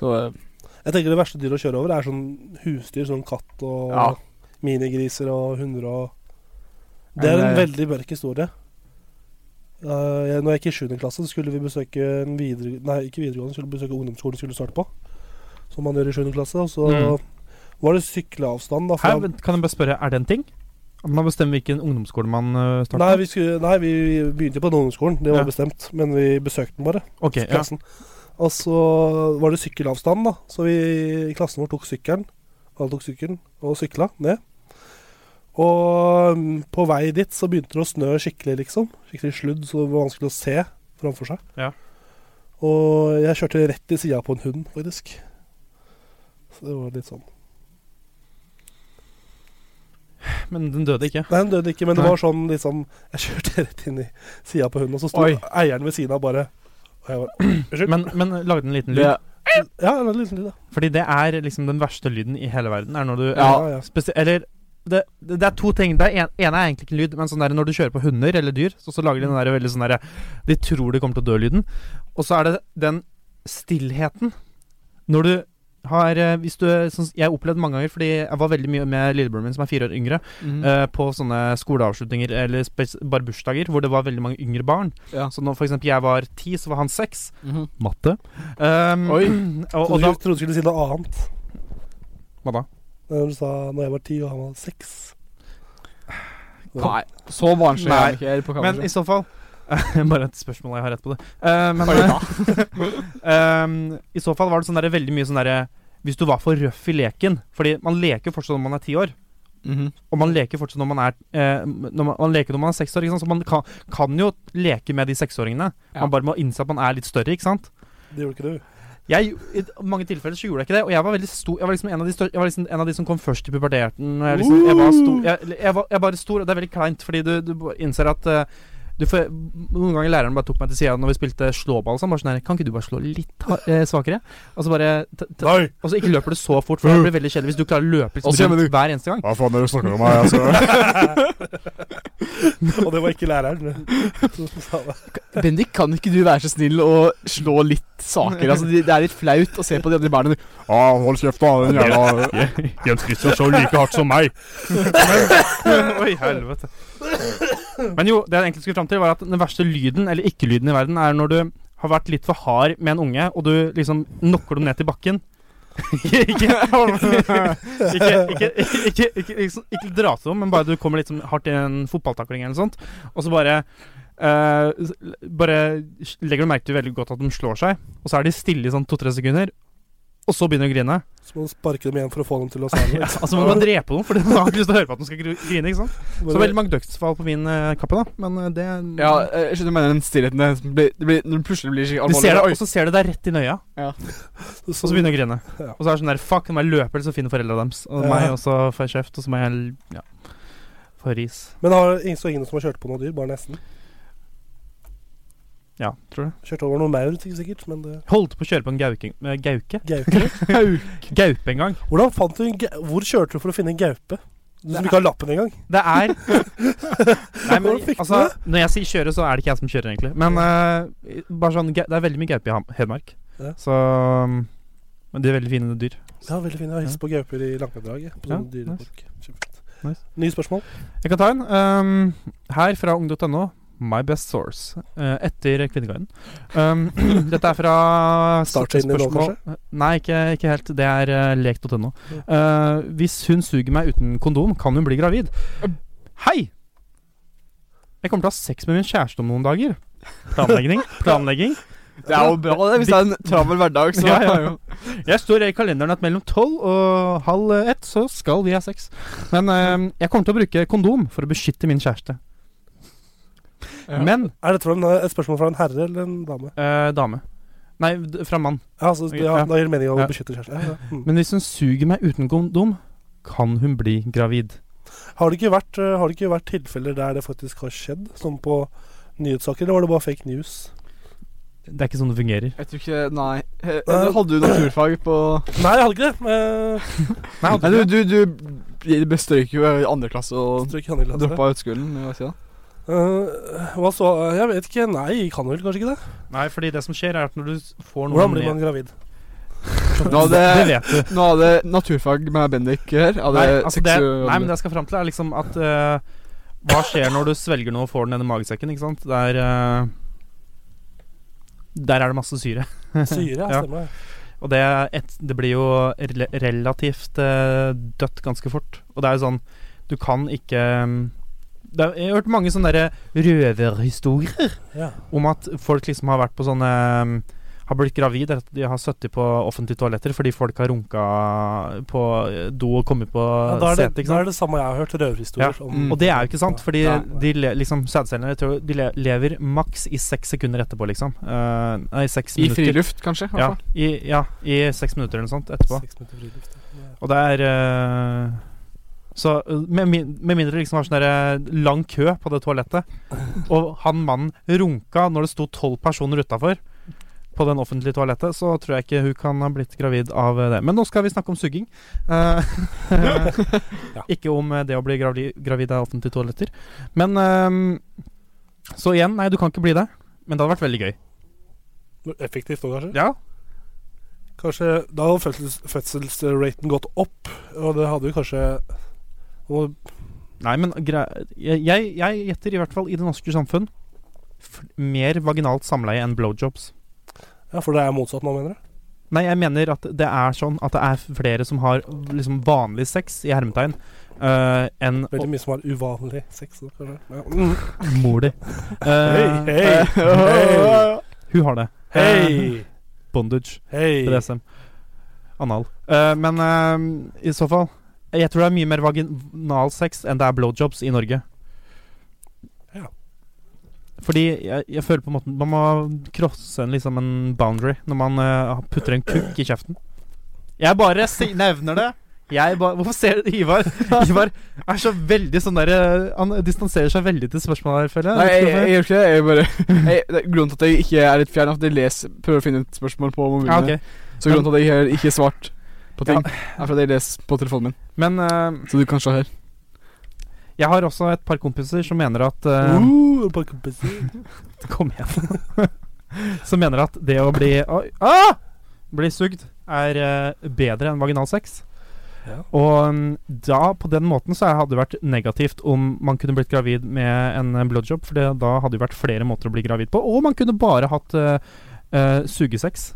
Så eh, Jeg tenker det verste dyret å kjøre over er sånn husdyr, sånn katt og Ja. minigriser og hunder og Det er en Eller- veldig mørk historie. Uh, jeg, når jeg gikk i 7. klasse, så skulle vi besøke en videre, Nei, ikke videregående, skulle besøke ungdomsskolen vi skulle starte på. Som man gjør i 7. klasse. Og så Mm. var det sykleavstand, da. Hæ, Fra, men kan jeg bare spørre, er det en ting? At man bestemmer hvilken ungdomsskole man øh, starter nei, vi skulle, nei, vi begynte på den ungdomsskolen, det var Ja. bestemt. Men vi besøkte den bare. Ok, ja. klassen. Og så var det sykkelavstand, da. Så vi i klassen vår tok sykkelen. Alle tok sykkelen og sykla ned. Og mm, på vei dit så begynte det å snø skikkelig, liksom. Skikkelig sludd, så det var vanskelig å se framfor seg. Ja. Og jeg kjørte rett i sida på en hund, faktisk. Så det var litt sånn. Men den døde ikke. Nei, hun døde ikke, men det Nei. var sånn liksom Jeg kjørte *laughs* rett inn i sida på hunden, og så sto Oi. eieren ved siden av bare Og jeg bare *clears throat* Unnskyld. Men, men eh, lagde den en liten lyd? det, Ja, det var litt sånn lyd, da. Fordi det er liksom den verste lyden i hele verden. Er når du Ja. eller spesi- Eller det, det er to ting. Det er en, ene er egentlig ikke en lyd, men sånn der, når du kjører på hunder eller dyr, så, så lager de den der veldig sånn derre De tror de kommer til å dø-lyden. Og så er det den stillheten når du har eh, Hvis du sånn, Jeg har opplevd mange ganger, fordi jeg var veldig mye med lillebroren min, som er fire år yngre, mm, eh, på sånne skoleavslutninger eller spes bare bursdager hvor det var veldig mange yngre barn. ja. Så når for eksempel jeg var ti, så var han seks. Mhm. Matte. Um, Oi. *clears throat* Og, og Trodde da du- trodde du skulle si noe annet. Hva da? Når du sa når jeg var ti og han var seks. Nei, så barnslig Nei. er det ikke her på Men i kammerset. så fall *laughs* Bare et spørsmål, jeg har rett på det. Eh, men *laughs* eh, I så fall var det sånn der, veldig mye sånn derre Hvis du var for røff i leken Fordi man leker fortsatt når man er ti år. Mhm. Og man leker fortsatt når man er eh, når man, man leker når man er seks år, ikke sant? så man kan, kan jo leke med de seksåringene. Ja. Man bare må innse at man er litt større, ikke sant. Det gjorde ikke du. Jeg, I mange tilfeller så gjorde jeg ikke det, og jeg var veldig stor. Jeg var liksom en av de, stør, jeg var liksom en av de som kom først i puberteten. og Jeg, liksom, jeg var stor. Jeg, jeg, var, jeg bare stor, og det er veldig kleint, fordi du, du bare innser at eh, du får, Noen ganger læreren bare tok meg til sida når vi spilte slåball. Sånn, bare sånn her, Kan ikke du bare slå litt ha- eh, svakere? Og så bare t t Nei! Og så ikke løper du så fort, for det blir veldig kjedelig hvis du klarer å løpe liksom, Og så gjør rundt du- hver eneste gang. Hva faen er det du snakker om her? Altså? *laughs* Og det var ikke læreren. som sa det. Bendik, kan ikke du være så snill å slå litt *laughs* saker? Altså, det, det er litt flaut å se på de andre barna. Ja, hold kjeft, da. Den jævla Jens Christian så like hardt som meg. Oi, helvete. Men jo, det jeg egentlig skulle fram til, var at den verste lyden, eller ikke-lyden i verden, er når du har vært litt for hard med en unge, og du liksom knocker dem ned til bakken ikke, ikke, ikke, ikke, ikke, ikke, liksom, ikke dra til dem, men bare du kommer litt sånn hardt i en fotballtakling eller noe sånt, og så bare eh, s- Bare legger du merke til veldig godt at de slår seg, og så er de stille i sånn to-tre sekunder, og så begynner de å grine. Så må du sparke dem igjen for å få dem til å svare. *laughs* Ja, *laughs* altså må man drepe noen, for de har ikke lyst til å høre på at de skal gr- grine. ikke sant? Så Bare- veldig mange dødsfall på min eh, kappe, da. Men eh, det Ja, jeg skjønner hva du mener den stillheten der. som blir- det blir- Når du plutselig blir skikkelig Du alvorlig. ser det, oi. og så ser du deg rett i nøya, så, og så begynner du å grine. *laughs* Ja. Og så er det sånn der Fuck, om jeg løper, så finner foreldra deres. Og Ja. meg, og så får jeg kjeft, og så må jeg Ja. Få ris. Men har ingen, så ingen som har kjørt på noe dyr? Bare nesten. Ja, tror du. Kjørt over noen maur, ikke sikkert, men det Holdt på å kjøre på en gauke, eh, gauke? *laughs* Gaupe. *laughs* Gaupe en gang. Hvordan fant du en ga Hvor kjørte du for å finne en gaupe? Du som ikke har lappen engang? Det er *laughs* Nei, men Hvordan fikk du altså Når jeg sier kjøre, så er det ikke jeg som kjører, egentlig. Men eh, bare sånn ga- Det er veldig mye gaupe i Ham- Hedmark. Ja. Så mm, Men de er veldig fine dyr. Ja, veldig fin. Jeg har hilst på gauper i Lankadraget. På Ja, sånne dyrepark. Nice. Kjempefint. Nye spørsmål? Jeg kan ta en. ehm, her fra ung.no. My best source. eh, etter Kvinneguiden. Um, *clears throat* dette er fra Startsiden din nå, spørsmål- Nei, ikke, ikke helt. Det er eh, lek.no. Eh, hvis hun suger meg uten kondom, kan hun bli gravid. Hei! Jeg kommer til å ha sex med min kjæreste om noen dager. Planlegging. Planlegging. Det er jo bra, det. Hvis det er en travel hverdag, så Ja, ja. er jo- Jeg står i kalenderen at mellom tolv og halv eh, ett så skal vi ha sex. Men eh, jeg kommer til å bruke kondom for å beskytte min kjæreste. Ja. Men Er dette fra en, et spørsmål fra en herre eller en dame? eh, dame. Nei, d- fra mann. Ja, altså, det- ja, Ja. Da gir det mening å Ja. beskytte kjæresten. Ja, ja. Mm. Men hvis hun suger meg uten kondom, kan hun bli gravid. Har, det ikke vært, eh, har det ikke vært tilfeller der det faktisk har skjedd? Som på nyhetssaker, eller var det bare fake news? Det er ikke sånn det fungerer. *laughs* Jeg tror ikke Nei. Eh, Hadde du naturfag på Nei, jeg hadde ikke det. Eh, men Nei, du, du, du bestrøyk jo eh, i andre klasse og Strøk i handleglasset. droppa ut skolen. eller Hva *laughs* sier jeg? Eh, hva så? Jeg vet ikke. Nei, jeg kan vel kanskje ikke det? Nei, fordi det som skjer, er at når du får Hvordan blir man *laughs* gravid? Nå Det hadde, *laughs* vet du. nå hadde naturfag med Bendik her. Hadde Nei, altså det, seksu- nei, men det jeg skal fram til, er liksom at eh, Hva skjer når du svelger noe og får den ned i magesekken, ikke sant? Det er eh, Der er det masse syre. Syre, ja. Ja. stemmer det. Og det, er et, det blir jo rel- relativt eh, dødt ganske fort. Og det er jo sånn Du kan ikke mm, det er, Jeg har hørt mange sånne derre røverhistorier Ja. om at folk liksom har vært på sånne mm, har blitt gravid etter at de har sittet på offentlige toaletter fordi folk har runka på eh, do og kommet på Ja, da, er det, setet. ikke da sant? er det samme jeg har hørt røverhistorier Ja. om. Mm. Og det er jo ikke sant, fordi Nei. de le, liksom sædcellene jeg tror de le, lever maks i seks sekunder etterpå, liksom. Eh, nei, seks I minutter. friluft, kanskje? i hvert Ja, fall. i, ja, i seks minutter eller noe sånt etterpå. Seks minutter friluft, ja. Og det er eh, Så eh, med, min- med mindre det liksom var sånn der, eh, lang kø på det toalettet, og han mannen runka når det sto tolv personer utafor på den offentlige toalettet, så tror jeg ikke hun kan ha blitt gravid av eh, det. Men nå skal vi snakke om sugging. Eh, *laughs* ikke om eh, det å bli gravid, gravid av offentlige toaletter. Men eh, Så igjen, nei, du kan ikke bli det. Men det hadde vært veldig gøy. Men Effektivt nå, kanskje? Ja, Kanskje Da hadde fødsels, fødselsraten gått opp, og det hadde jo kanskje og, Nei, men gre jeg, jeg, jeg gjetter i hvert fall i det norske samfunn f mer vaginalt samleie enn blowjobs. Ja, for det er motsatt nå, mener du? Nei, jeg mener at det er sånn at det er flere som har liksom vanlig sex, i hermetegn, øh, enn Veldig mye som har uvanlig sex. da, kanskje. Ja. Mm. mor *laughs* di. Hei, Eh, hei, hei, hun har det. Eh, hei, bondage. hei. BDSM. Anal. Eh, men eh, i så fall Jeg tror det er mye mer vaginal sex enn det er blowjobs i Norge. Ja. Fordi jeg, jeg føler på en måte Man må crosse en, liksom en boundary når man eh, putter en kukk i kjeften. Jeg bare si nevner det. Jeg ba Hvorfor ser du Ivar? Ivar er så veldig sånn der eh, Han distanserer seg veldig til spørsmålet her, føler jeg. Nei, jeg, Hvorfor? jeg, jeg gjør ikke det. Jeg bare *laughs* jeg, det er Grunnen til at jeg ikke er litt fjern, er at jeg leser, prøver å finne ut spørsmål på mobilen. ja, min. ok. Så grunnen til at jeg har ikke svart på ting, er fordi jeg leser på telefonen min. Men eh, Så du kan se her. jeg har også et par kompiser som mener at eh, Uh, et par kompiser. *laughs* Kom igjen. Som mener at det å bli Oi, ah! Bli sugd er eh, bedre enn vaginal sex. Ja. Og mm, da, på den måten, så hadde det vært negativt om man kunne blitt gravid med en eh, blowjob, for det, da hadde det vært flere måter å bli gravid på. Og man kunne bare hatt eh, Eh, sugesex.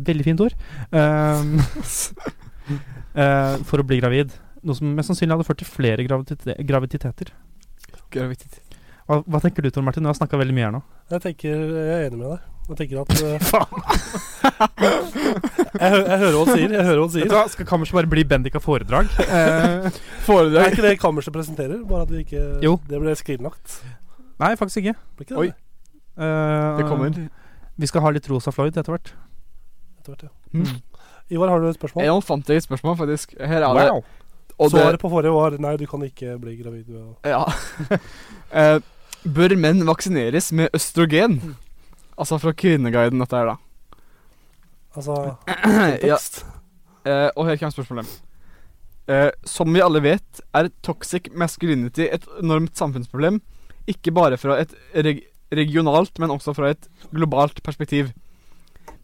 Veldig fint ord. Ehm, *laughs* eh, for å bli gravid. Noe som mest sannsynlig hadde ført til flere gravidite graviditeter. Graviditet. Hva, hva tenker du Tor Martin? Jeg har snakka veldig mye her nå. Jeg tenker, jeg er enig med deg. Jeg tenker at eh, jeg, hø jeg hører hva han sier. Jeg hører hva han Vet sier. du hva, Skal kammerset bare bli Bendik-foredrag? Eh, *laughs* Det Foredrag. er ikke det kammerset presenterer, bare at det ikke Jo. Det ble skrinlagt. Nei, faktisk ikke. Blir ikke det Oi. det? Eh, Det kommer. Vi skal ha litt Rosa Floyd etter hvert. Etter hvert, ja. Mm. Ivar, har du et spørsmål? Leon fant jeg et spørsmål, faktisk. Her er det. Og det Svaret på forrige var nei, du kan ikke bli gravid. ved å- Ja. *laughs* Eh, bør menn vaksineres med østrogen? Altså fra Kvinneguiden, dette her, da. Altså Eh, ja, tekst. eh, og her kommer spørsmålet. Eh, som vi alle vet, er toxic masculinity et enormt samfunnsproblem. Ikke bare fra et reg regionalt, men også fra et globalt perspektiv.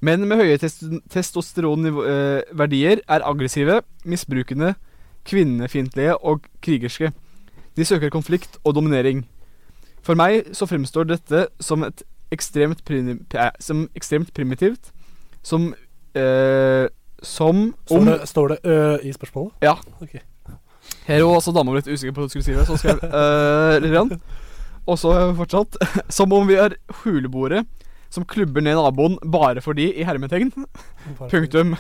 Menn med høye test testosteronverdier er aggressive, misbrukende, kvinnefiendtlige og krigerske. De søker konflikt og dominering. For meg så fremstår dette som et ekstremt, primi eh, som ekstremt primitivt, som eh, Som Står om det, står det ø i spørsmålet? her var også dama litt usikker på hva hun skulle si, det, så hun skrev uh, litt. grann. Og så har hun fortsatt. *laughs* Som om vi er huleboere som klubber ned naboen bare fordi, i hermetegn, Bare- punktum.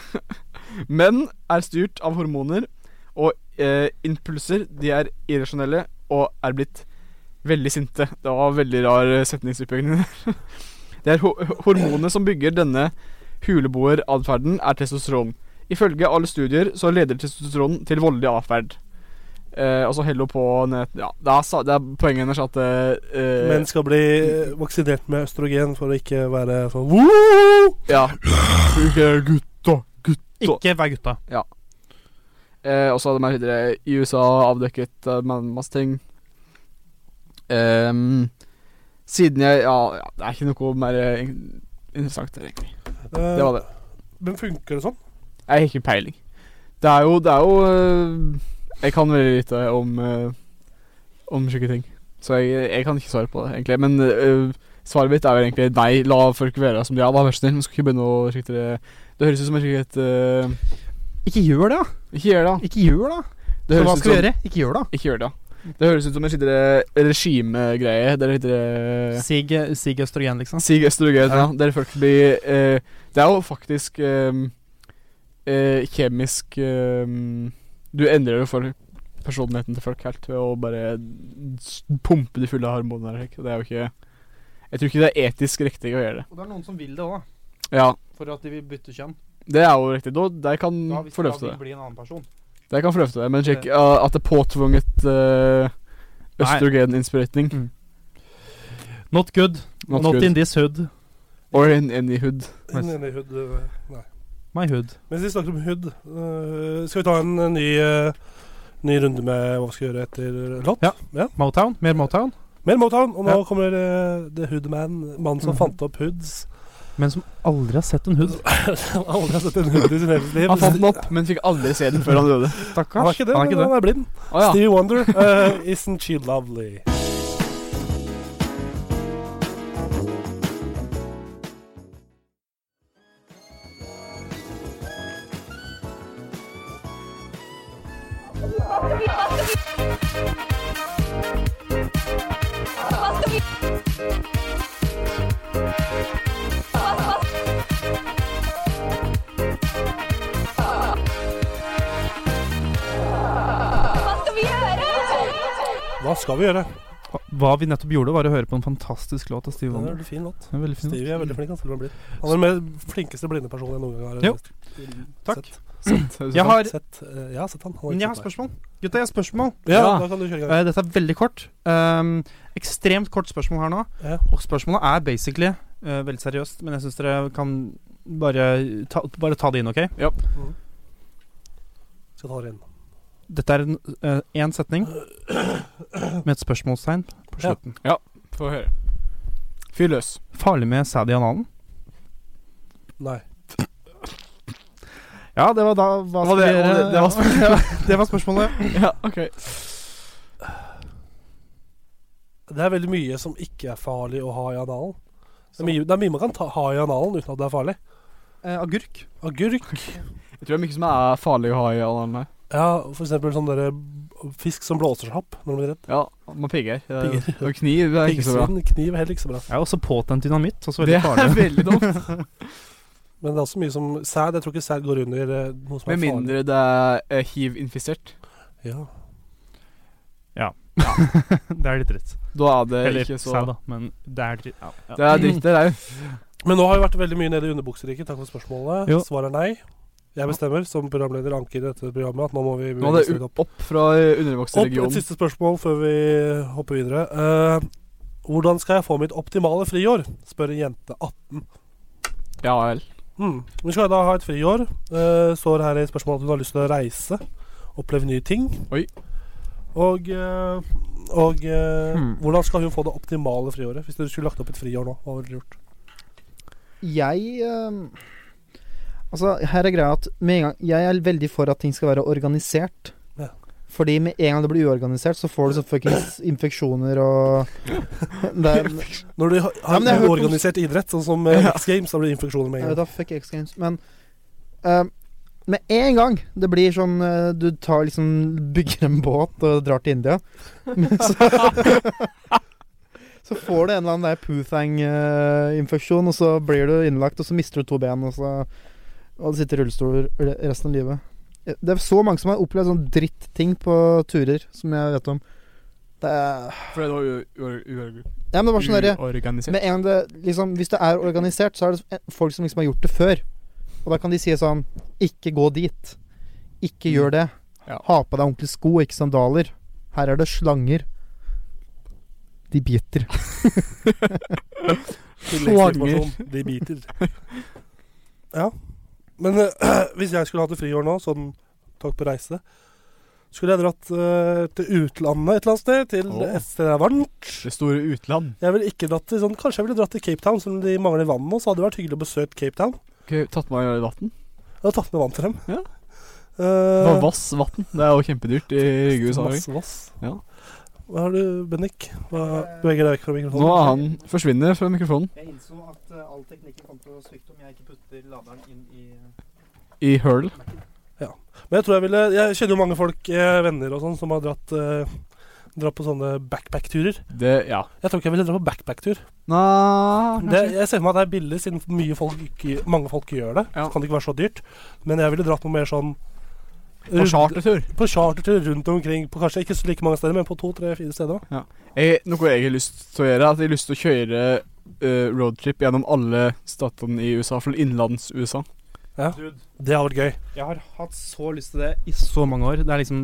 Menn er styrt av hormoner og eh, impulser. De er irrasjonelle og er blitt veldig sinte. Det var veldig rar eh, setningsoppbygging. *laughs* Det er ho hormonene som bygger denne huleboeratferden, er testosteron. Ifølge alle studier så leder testosteron til voldelig atferd. Eh, og så heller hun på ned, Ja, det er, sa- det er poenget hennes at eh, eh, Menn skal bli eh, vaksinert med østrogen for å ikke være sånn Woo! Ja. Gutta, gutta. Ikke vær gutta. Eh, og så hadde man videre i USA avdekket eh, man- masse ting. Ehm, siden jeg ja, ja, det er ikke noe mer eh, in- interessant der, egentlig. Det var det. Eh, Men funker det sånn? Jeg har ikke peiling. Det er jo, det er jo eh, Jeg kan veldig lite om eh, Om slike ting. Så jeg, jeg kan ikke svare på det, egentlig. Men eh, svaret mitt er jo egentlig nei. La folk være som de er, da, vær så snill. Man skal ikke begynne å slikt det Det høres ut som en slikt eh, Ikke gjør det, da! Ikke gjør det, da. Ikke gjør det, da! Det Så høres hva ut skal vi som- gjøre? Ikke gjør det, da! Ikke gjør det. Det høres ut som en skikkelig eh, regimegreie. Der heter Sig, sig østrogen, liksom. Sig Østerøgøy. Ja. Der folk blir eh, Det er jo faktisk eh, eh, kjemisk eh, Du endrer jo for personligheten til folk helt ved å bare s- pumpe de fulle av hormoner. ikke? Det er jo ikke Jeg tror ikke det er etisk riktig å gjøre det. Og det er noen som vil det òg, Ja, for at de vil bytte kjønn. det er jo riktig. Da, de kan forløfte Mm, det. bli en annen person. De kan forløfte det, men sjekk eh, at det er påtvunget eh, Nei. østrogeninnsprøytning. Not good. Not, Not, good. in this hood. Or in any hood. Inn i hud, ø, nei. My hood. Mens vi snakker om hud, ø, skal vi ta en, ø, ny, ø, ny runde med hva vi skal gjøre etter låt? Ja. Motown. Mer Motown. Mer Motown, og nå Ja. kommer ø, The Hood Man, mannen som Mhm. fant opp hoods. *laughs* Men som aldri har sett en hood. Han har aldri har sett en hood i sin hele liv. Han fant den opp, men fikk aldri se den før han døde. Stakkars. Han er ikke det, Han er ikke men det. han er blind. Å ja. Stevie Wonder, ø, Isn't She Lovely? Hva skal vi gjøre? Hva skal vi gjøre? Hva vi nettopp gjorde, var å høre på en fantastisk låt av Steve Det er en Wonder. veldig fin låt. Den er veldig fin. Stevie er veldig flink. Han, selv om han, blir. han er den mer flinkeste blinde personen jeg noen gang har Jo. sett. Takk. Sett, Jeg har, sett, eh, jeg har sett han. han men jeg har ikke sett spørsmål. Gutta, jeg har spørsmål. meg. Ja, Ja. da kan du kjøre i gang. Eh, dette er veldig kort. Ehm, ekstremt kort spørsmål her nå. Ja. Og spørsmålet er basically eh, veldig seriøst, men jeg syns dere kan bare ta, bare ta det inn, OK? Skal ta det inn. Dette er én en, eh, en setning med et spørsmålstegn på Ja. slutten. Få høre. Fyr løs. Farlig med sæd i analen? Nei. Ja, det var da hva Det var skal det- vi gjøre? det- det var *laughs* *laughs* Ja, det var spørsmålet. Ja, ok. Det er veldig mye som ikke er farlig å ha i analen. Det er mye, det er mye man kan ta, ha i analen uten at det er farlig. Eh, agurk. Agurk. Jeg tror det er mye som er farlig å ha i analen her. Ja, for eksempel sånn derre fisk som blåser seg opp når man blir redd. Ja, man pigger. Det er- Pigger. Og kniv det er ikke så bra. Piggsvin, kniv er heller ikke så bra. Jeg er også påtent dynamitt. Også *laughs* veldig Det er farlig. *laughs* veldig dumt. Men det er også mye som sæd. Jeg tror ikke sæd går under eh, noe som Med er farlig. mindre det er eh, hiv-infisert. Ja. det er litt dritt. Da er det Eller ikke så sæd, da. Men det er dritt. Ja, ja. Det er dritt, det der. Men nå har vi vært veldig mye nede i underbukseriket. Takk for spørsmålet. Jo. Svaret er nei. Jeg bestemmer som programleder Anker i dette programmet at nå må vi Nå er bevege det oss litt u- opp fra eh, Opp et undervokserregionen. siste spørsmål før vi hopper videre. Eh, hvordan skal jeg få mitt optimale friår? spør en jente 18. Ja vel. Hmm. Hun skal da ha et friår. Eh, står her i spørsmålet at hun har lyst til å reise. Oppleve nye ting. Oi. Og, eh, og eh, Hmm. hvordan skal hun få det optimale friåret? Hvis du skulle lagt opp et friår nå, hva ville du gjort? Jeg ehm, Altså, her er greia at med en gang, jeg er veldig for at ting skal være organisert. Ja. Fordi med en gang det blir uorganisert, så får du så fuckings infeksjoner og det er, Når du har Ja, men jeg har har hørt om- uorganisert idrett, sånn som eh, X Games, da blir det infeksjoner med Jeg en vet gang. da, fuck X Games. Men ehm, med en gang det blir sånn eh, Du tar liksom bygger en båt og drar til India, men så Så får du en eller annen der Poothang-infeksjon, og så blir du innlagt, og så mister du to ben, og så Og du sitter i rullestol re- resten av livet. Det er så mange som har opplevd sånn dritting på turer, som jeg vet om. Det er For det var u- u- u- Ja, men det Mm. var sånn derre uorganisert. med en gang det liksom Hvis det er organisert, så er det folk som liksom har gjort det før. Og da kan de si sånn Ikke gå dit. Ikke gjør det. Mm. Ja. Ha på deg ordentlige sko, ikke sandaler. Her er det slanger. De *laughs* biter. Tilleggsinformasjon. De biter. *laughs* Ja. Men eh, *clears throat* hvis jeg skulle hatt et friår nå, sånn takk på reise, skulle jeg dratt eh, til utlandet et eller annet sted. Til Åh. et sted det er varmt. Det store utland. Jeg ville ikke dratt til sånn, Kanskje jeg ville dratt til Cape Town, som de mangler vann nå. Så hadde det vært hyggelig å besøke Cape Town. Okay, tatt med meg vann. Jeg hadde tatt med vann til dem. Ja. Eh, Vass vann. Det er jo kjempedyrt i USA. masse vass. Ja. Hva har du, Bennik? Hva beveger deg vekk fra Nå mikrofonen? er han forsvinner fra mikrofonen. Jeg innså at eh, all teknikken kom til å svikte om jeg ikke putter laderen inn i I hull. Men jeg tror jeg ville Jeg kjenner jo mange folk, eh, venner og sånn, som har dratt eh, Dratt på sånne backpack-turer. Det Ja. Jeg tror ikke jeg ville dra på backpack-tur. Nei Det- Jeg ser for meg at det er billig, siden mye folk ikke, mange folk gjør det. Ja. Så kan det ikke være så dyrt. Men jeg ville dratt noe mer sånn På chartertur. på chartertur rundt omkring. På kanskje ikke så like mange steder, men på to, tre, fire steder. Jeg, noe jeg har lyst til å gjøre, er at jeg har lyst til å kjøre eh, roadtrip gjennom alle statene i USA, for innlands-USA. Det hadde vært gøy. Jeg har hatt så lyst til det i så mange år. Det er liksom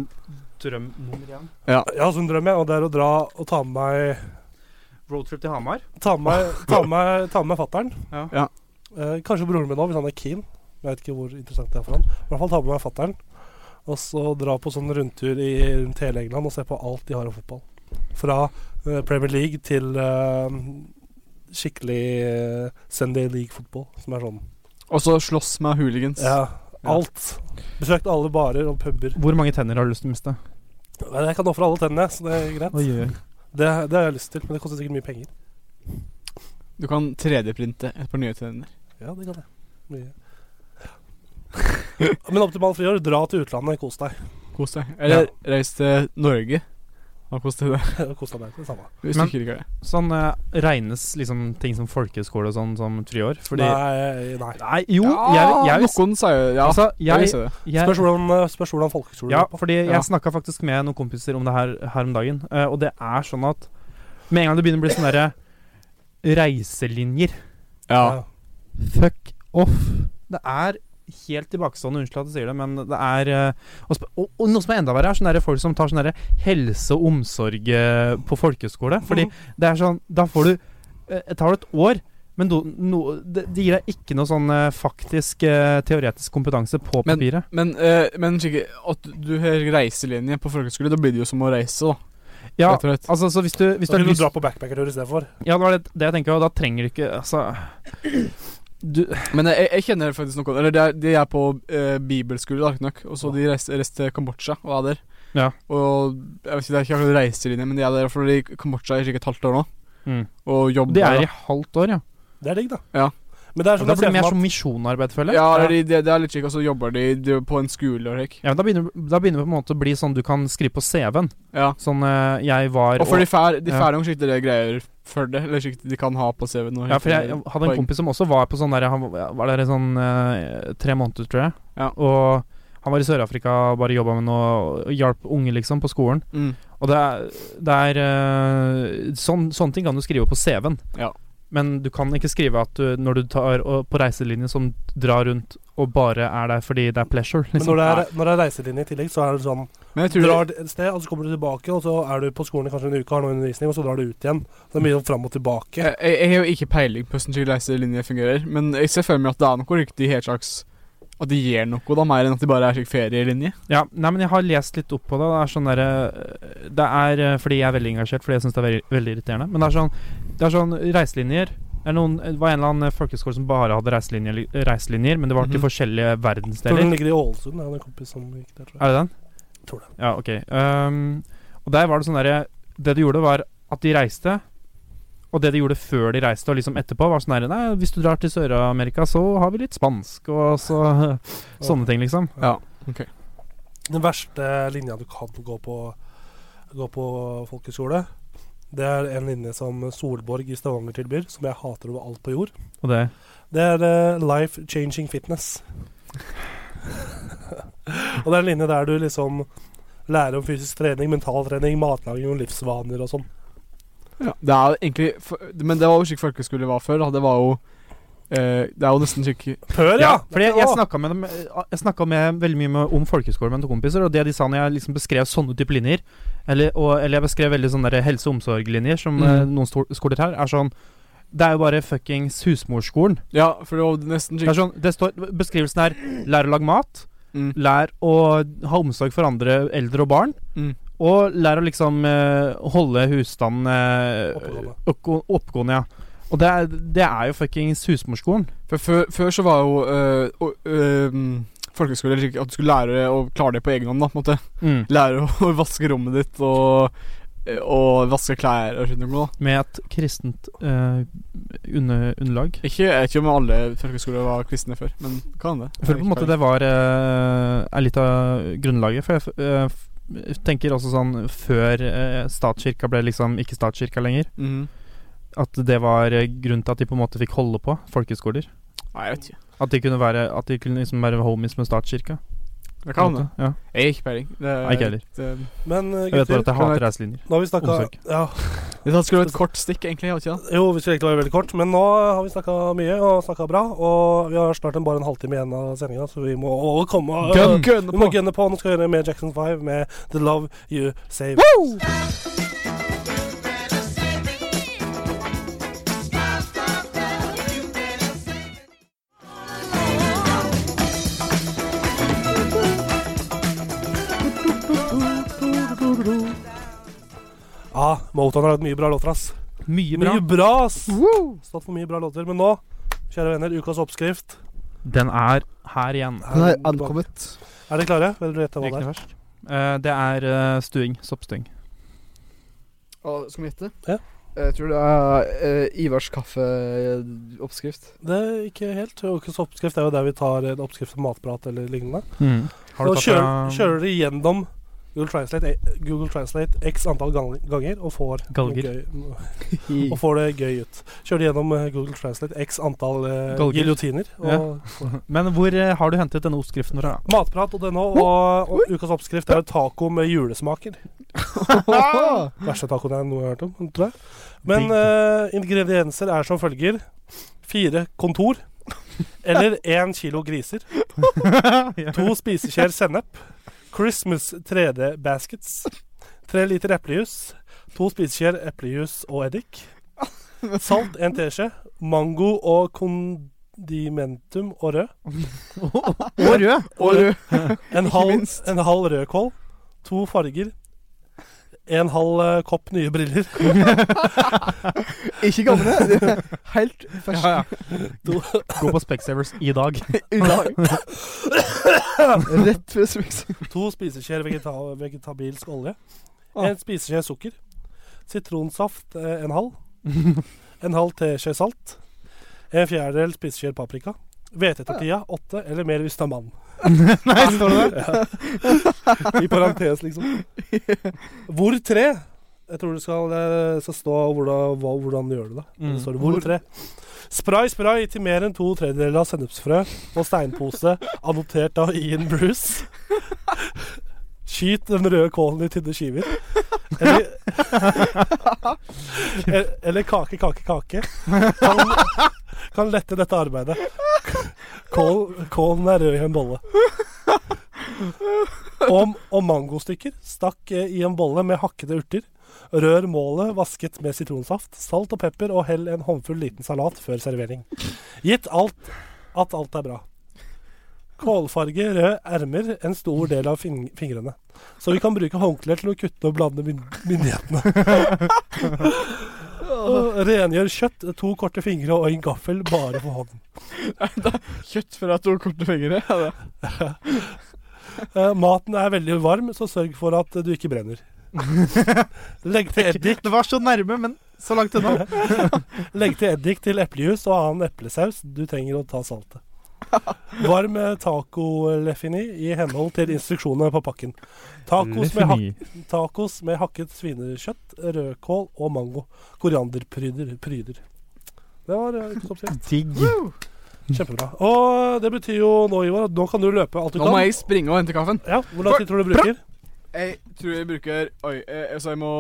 drøm nummer én. Jeg har også en drøm, jeg, og det er å dra og ta med meg Roadtrip til Hamar. Ta med meg, ta med meg, ta med meg fatter'n. Ja. Ja. Eh, kanskje broren min òg, hvis han er keen. Jeg vet ikke hvor interessant det er for han. I hvert fall ta med meg fatter'n, og så dra på sånn rundtur i, rundt hele England og se på alt de har av fotball. Fra eh, Premier League til eh, skikkelig eh, Sunday League-fotball, som er sånn Og så slåss med hooligans. Ja, alt. Besøkt alle barer og puber. Hvor mange tenner har du lyst til å miste? Men Jeg kan ofre alle tennene, så det er greit. Det, det har jeg lyst til, men det koster sikkert mye penger. Du kan 3D-printe et par nye tenner. Ja, det kan jeg. Mye. Men optimal friår, dra til utlandet, kos deg. *laughs* Kos deg. Eller reis til Norge. Og kos deg der. kos deg med det samme. Hvis Men- du ikke liker det. Sånn eh, regnes liksom ting som folkehøyskole og sånn som friår? Fordi Nei, nei. Nei, jo, jeg, jeg, vil- noen sier jo Ja, altså, jeg vil jeg, si det. liksom jeg Spørs hvordan, eh, spørs hvordan folkehøyskolen Ja, er på. fordi Ja. jeg snakka faktisk med noen kompiser om det her her om dagen, eh, og det er sånn at med en gang det begynner å bli sånne derre reiselinjer Ja. Fuck off. Det er helt tilbakestående, unnskyld at jeg sier det, men det er eh, Og, sp- og, og noe som er enda verre, er sånne der folk som tar sånn derre helse og omsorg eh, på folkehøyskole. Fordi det er sånn Da får du eh, Det tar et år, men do, no, det, det gir deg ikke noe sånn eh, faktisk eh, teoretisk kompetanse på Men- papiret. Men, eh, men skikke, at du har reiselinje på folkehøyskole, da blir det jo som å reise, da. ja, Rett og slett. altså, så hvis du, hvis Så du har vil du lyst dra på backpackertur istedenfor. Ja, det var det, det jeg tenker, og da trenger du ikke Altså *clears throat* du, Men jeg, jeg kjenner faktisk noen Eller de er, de er på eh, bibelskole, da, ikke nok. Og så de reiste reiste til Kambodsja og er der. Ja. Og jeg vet ikke, det er ikke akkurat reiselinje, men de er der fordi Kambodsja er i sikkert et halvt år nå. mm. Og jobber Det er der, i halvt år, ja. da. Det er digg, da. Ja. Men det er sånn Da jeg blir ser det mer for som meg misjonarbeid, føler jeg. Ja, det er, de- det det er litt kjekk, og så jobber de, de på en skole og slik. Ja, men da begynner, da begynner det på en måte å bli sånn du kan skrive på CV-en. Ja. Sånn eh, 'jeg var Og for de fær, de Ja. fær noen skikkelig greier for det, eller slik de kan ha på CV-en. og Ja, for jeg, helt- jeg hadde en poeng. kompis som også var på sånn der Han var der i sånn eh, tre måneder, tror jeg. Ja. Og han var i Sør-Afrika og bare jobba med noe og hjalp unge, liksom, på skolen. Mm. Og det er, det er eh, sånn, Sånne ting kan du skrive på CV-en. Ja. Men du kan ikke skrive at du, når du tar og, på reiselinje som drar rundt og bare er der fordi det er pleasure, Men liksom. når det, er, når det er reiselinje i tillegg, så er det sånn Men jeg Du tror drar et sted, og så kommer du tilbake, og så er du på skolen i kanskje en uke, har noe undervisning, og så drar du ut igjen. Så det er mye sånn fram og tilbake. Jeg, Eh, jeg, jeg har jo ikke peiling på hvordan slik reiselinje fungerer, men jeg ser for meg at det er noe riktig helt slags At de gjør noe, da, mer enn at de bare er slik ferielinje. Ja, nei, men jeg har lest litt opp på det. Det er sånn derre Det er eh, fordi jeg er veldig engasjert, fordi jeg syns det er veldig, veldig irriterende. Men det er sånn, det er sånn reiselinjer det, er noen, det var en eller annen folkehøyskole som bare hadde reiselinjer, reiselinjer men det var til Mhm. forskjellige Jeg tror verdensdeler. den ligger i Ålesund. Jeg hadde en kompis som gikk der, tror jeg. Er det den? Tror det. Ja, ok. Ehm, og der var det sånn derre Det de gjorde, var at de reiste. Og det de gjorde før de reiste, og liksom etterpå, var sånn herre Nei, hvis du drar til Sør-Amerika, så har vi litt spansk, og så *laughs* Sånne ting, liksom. Den verste linja du kan gå på, gå på folkehøyskole, det er en linje som Solborg i Stavanger tilbyr, som jeg hater over alt på jord. Og det Det er eh, Life Changing Fitness. *laughs* og det er en linje der du liksom lærer om fysisk trening, mentaltrening, matlaging og livsvaner og sånn. Det er jo egentlig for- Men det var jo slik folkeskole var før. Da. Det var jo eh, Det er jo nesten slik Før, ja! Ja, fordi jeg, jeg Å, snakka med dem eh, Jeg snakket med veldig mye med, om folkehøyskole med noen kompiser, og det de sa når jeg liksom beskrev sånne type linjer, eller, og, eller jeg beskrev veldig sånne der helse- og omsorglinjer som Mm. eh, noen stor- skoler her, er sånn Det er jo bare fuckings husmorskolen. Ja, for det var jo nesten Det er slik sånn, det står, beskrivelsen er lær å lage mat, Mm. lær å ha omsorg for andre eldre og barn. Mm. Og lær å liksom eh, holde husstanden eh, Oppegående. oppgå- oppegående. Ja. Og det er, det er jo fuckings husmorskolen. For før, før så var jo eh, å- øhm, folkeskole slik at du skulle lære å klare det på egen hånd. da, på en måte Lære å vaske rommet ditt og, eh, og vaske klær og sånt noe. da. Med et kristent eh, under, underlag. Ikke, jeg vet ikke om alle folkeskoler var kristne før, men hva er det? Jeg føler på en måte det var eh, er litt av grunnlaget. For jeg f- eh, f- tenker også sånn før eh, statskirka ble liksom ikke statskirka lenger, Mhm. at det var eh, grunnen til at de på en måte fikk holde på folkeskoler. Nei, jeg vet ikke. At de kunne være At de kunne liksom være homies med statskirka. Det på en kan det. måte. Ja. Jeg har ikke peiling. Det er Nei, ikke heller. litt, eh, Men eh, Jeg vet bare gutter, at kan jeg hater jeg- reiselinjer. nå har vi snakka Omsorg. ja, Det skulle vært et kort stikk, egentlig. Jeg vet ikke da. Jo, vi skulle egentlig være veldig kort, men nå har vi snakka mye og snakka bra. Og vi har snart en, bare en halvtime igjen av sendinga, så vi må å, komme Gun- Vi må gunne på. Nå skal vi gjøre mer Jackson 5 med The Love You Save. Ja, Motown har lagd mye bra låter, ass. Mye bra. Mye bra, ass! Stått for mye bra låter. Men nå, kjære venner, ukas oppskrift. Den er her igjen. Den Er er tilbake. ankommet. Er dere klare? Vil dere gjette hva det er? Eh, det er eh, stuing. Soppstuing. Å, skal vi gjette? Ja. Jeg tror det er eh, Ivars *laughs* kaffeoppskrift. Det er ikke helt. Ukas oppskrift er jo der vi tar en oppskrift om matprat eller lignende. Har du Nå tatt um, kjører, deg- kjører de gjennom Google Translate, eh, Google Translate x antall gang- ganger og får, Galger. Gøy, og får det gøy ut. Kjører de gjennom eh, Google Translate x antall eh, Galger. giljotiner. Og Ja. *laughs* Men hvor eh, har du hentet denne oppskriften fra? Matprat.no og, og ukas oppskrift er jo taco med julesmaker. Verste tacoen jeg noe har hørt om, tror jeg. Men Digg. eh, ingredienser er som følger. Fire kontor. Eller én kilo griser. To spiseskjeer sennep. Christmas 3D baskets. Tre liter eplejus. To spiseskjeer eplejus og eddik. Salt en teskje. Mango og kondimentum og rød. Og rød. Og rød. En halv, minst. en halv rødkål, to farger, en halv eh, kopp nye briller, *laughs* *laughs* Ikke gamle. det er Helt fersk. Ja, ja. Gå på Specsavers i dag. I dag. *laughs* Rett før smiks. to spiseskjeer vegeta vegetabilsk olje, Ah. en spiseskje sukker, sitronsaft eh, en halv, en halv teskje salt, En fjerdedel spiseskjeer paprika. Hvetetortilla åtte eller mer hvis du er mann. Nei, står det det? I parentes, liksom. *laughs* Hvor tre? Jeg tror det skal, det skal stå hvordan, hva, hvordan du gjør det. da Mm. Det står det hvor tre. Spray, spray til mer enn to tredjedeler av sennepsfrø og steinpose, annotert av Ian Bruce. Skyt den røde kålen i tynne skiver. Eller, e-, eller kake, kake, kake. Kan, kan lette dette arbeidet. Kål, kålen er rød i en bolle. Og, og mangostykker stakk eh, i en bolle med hakkede urter. Rør målet vasket med sitronsaft, salt og pepper, og hell en håndfull liten salat før servering. Gitt alt at alt er bra. Kålfarge, røde ermer, en stor del av fing fingrene. Så vi kan bruke håndklær til å kutte og blande myn myndighetene. Og Rengjør kjøtt, to korte fingre og en gaffel bare for hånden. Kjøtt fra to korte fingre. Ja, det. Eh, maten er veldig varm, så sørg for at eh, du ikke brenner. Legg til eddik Det var så nærme, men så langt unna. *laughs* Legg til eddik til eplejus og annen eplesaus. Du trenger å ta saltet. Varm eh, tacolefini i henhold til instruksjonene på pakken. Tacos med, hak tacos med hakket svinekjøtt, rødkål og mango. Korianderpryder. Pryder. Det var eh, ikke så oppskrift. Digg. Kjempebra. Og eh, det betyr jo nå, Ivar, at nå kan du løpe alt du Nå må kan. jeg springe og hente kaffen. Ja, Hvor lang tid tror du du bruker? Jeg tror jeg bruker Oi, eh, altså, så jeg må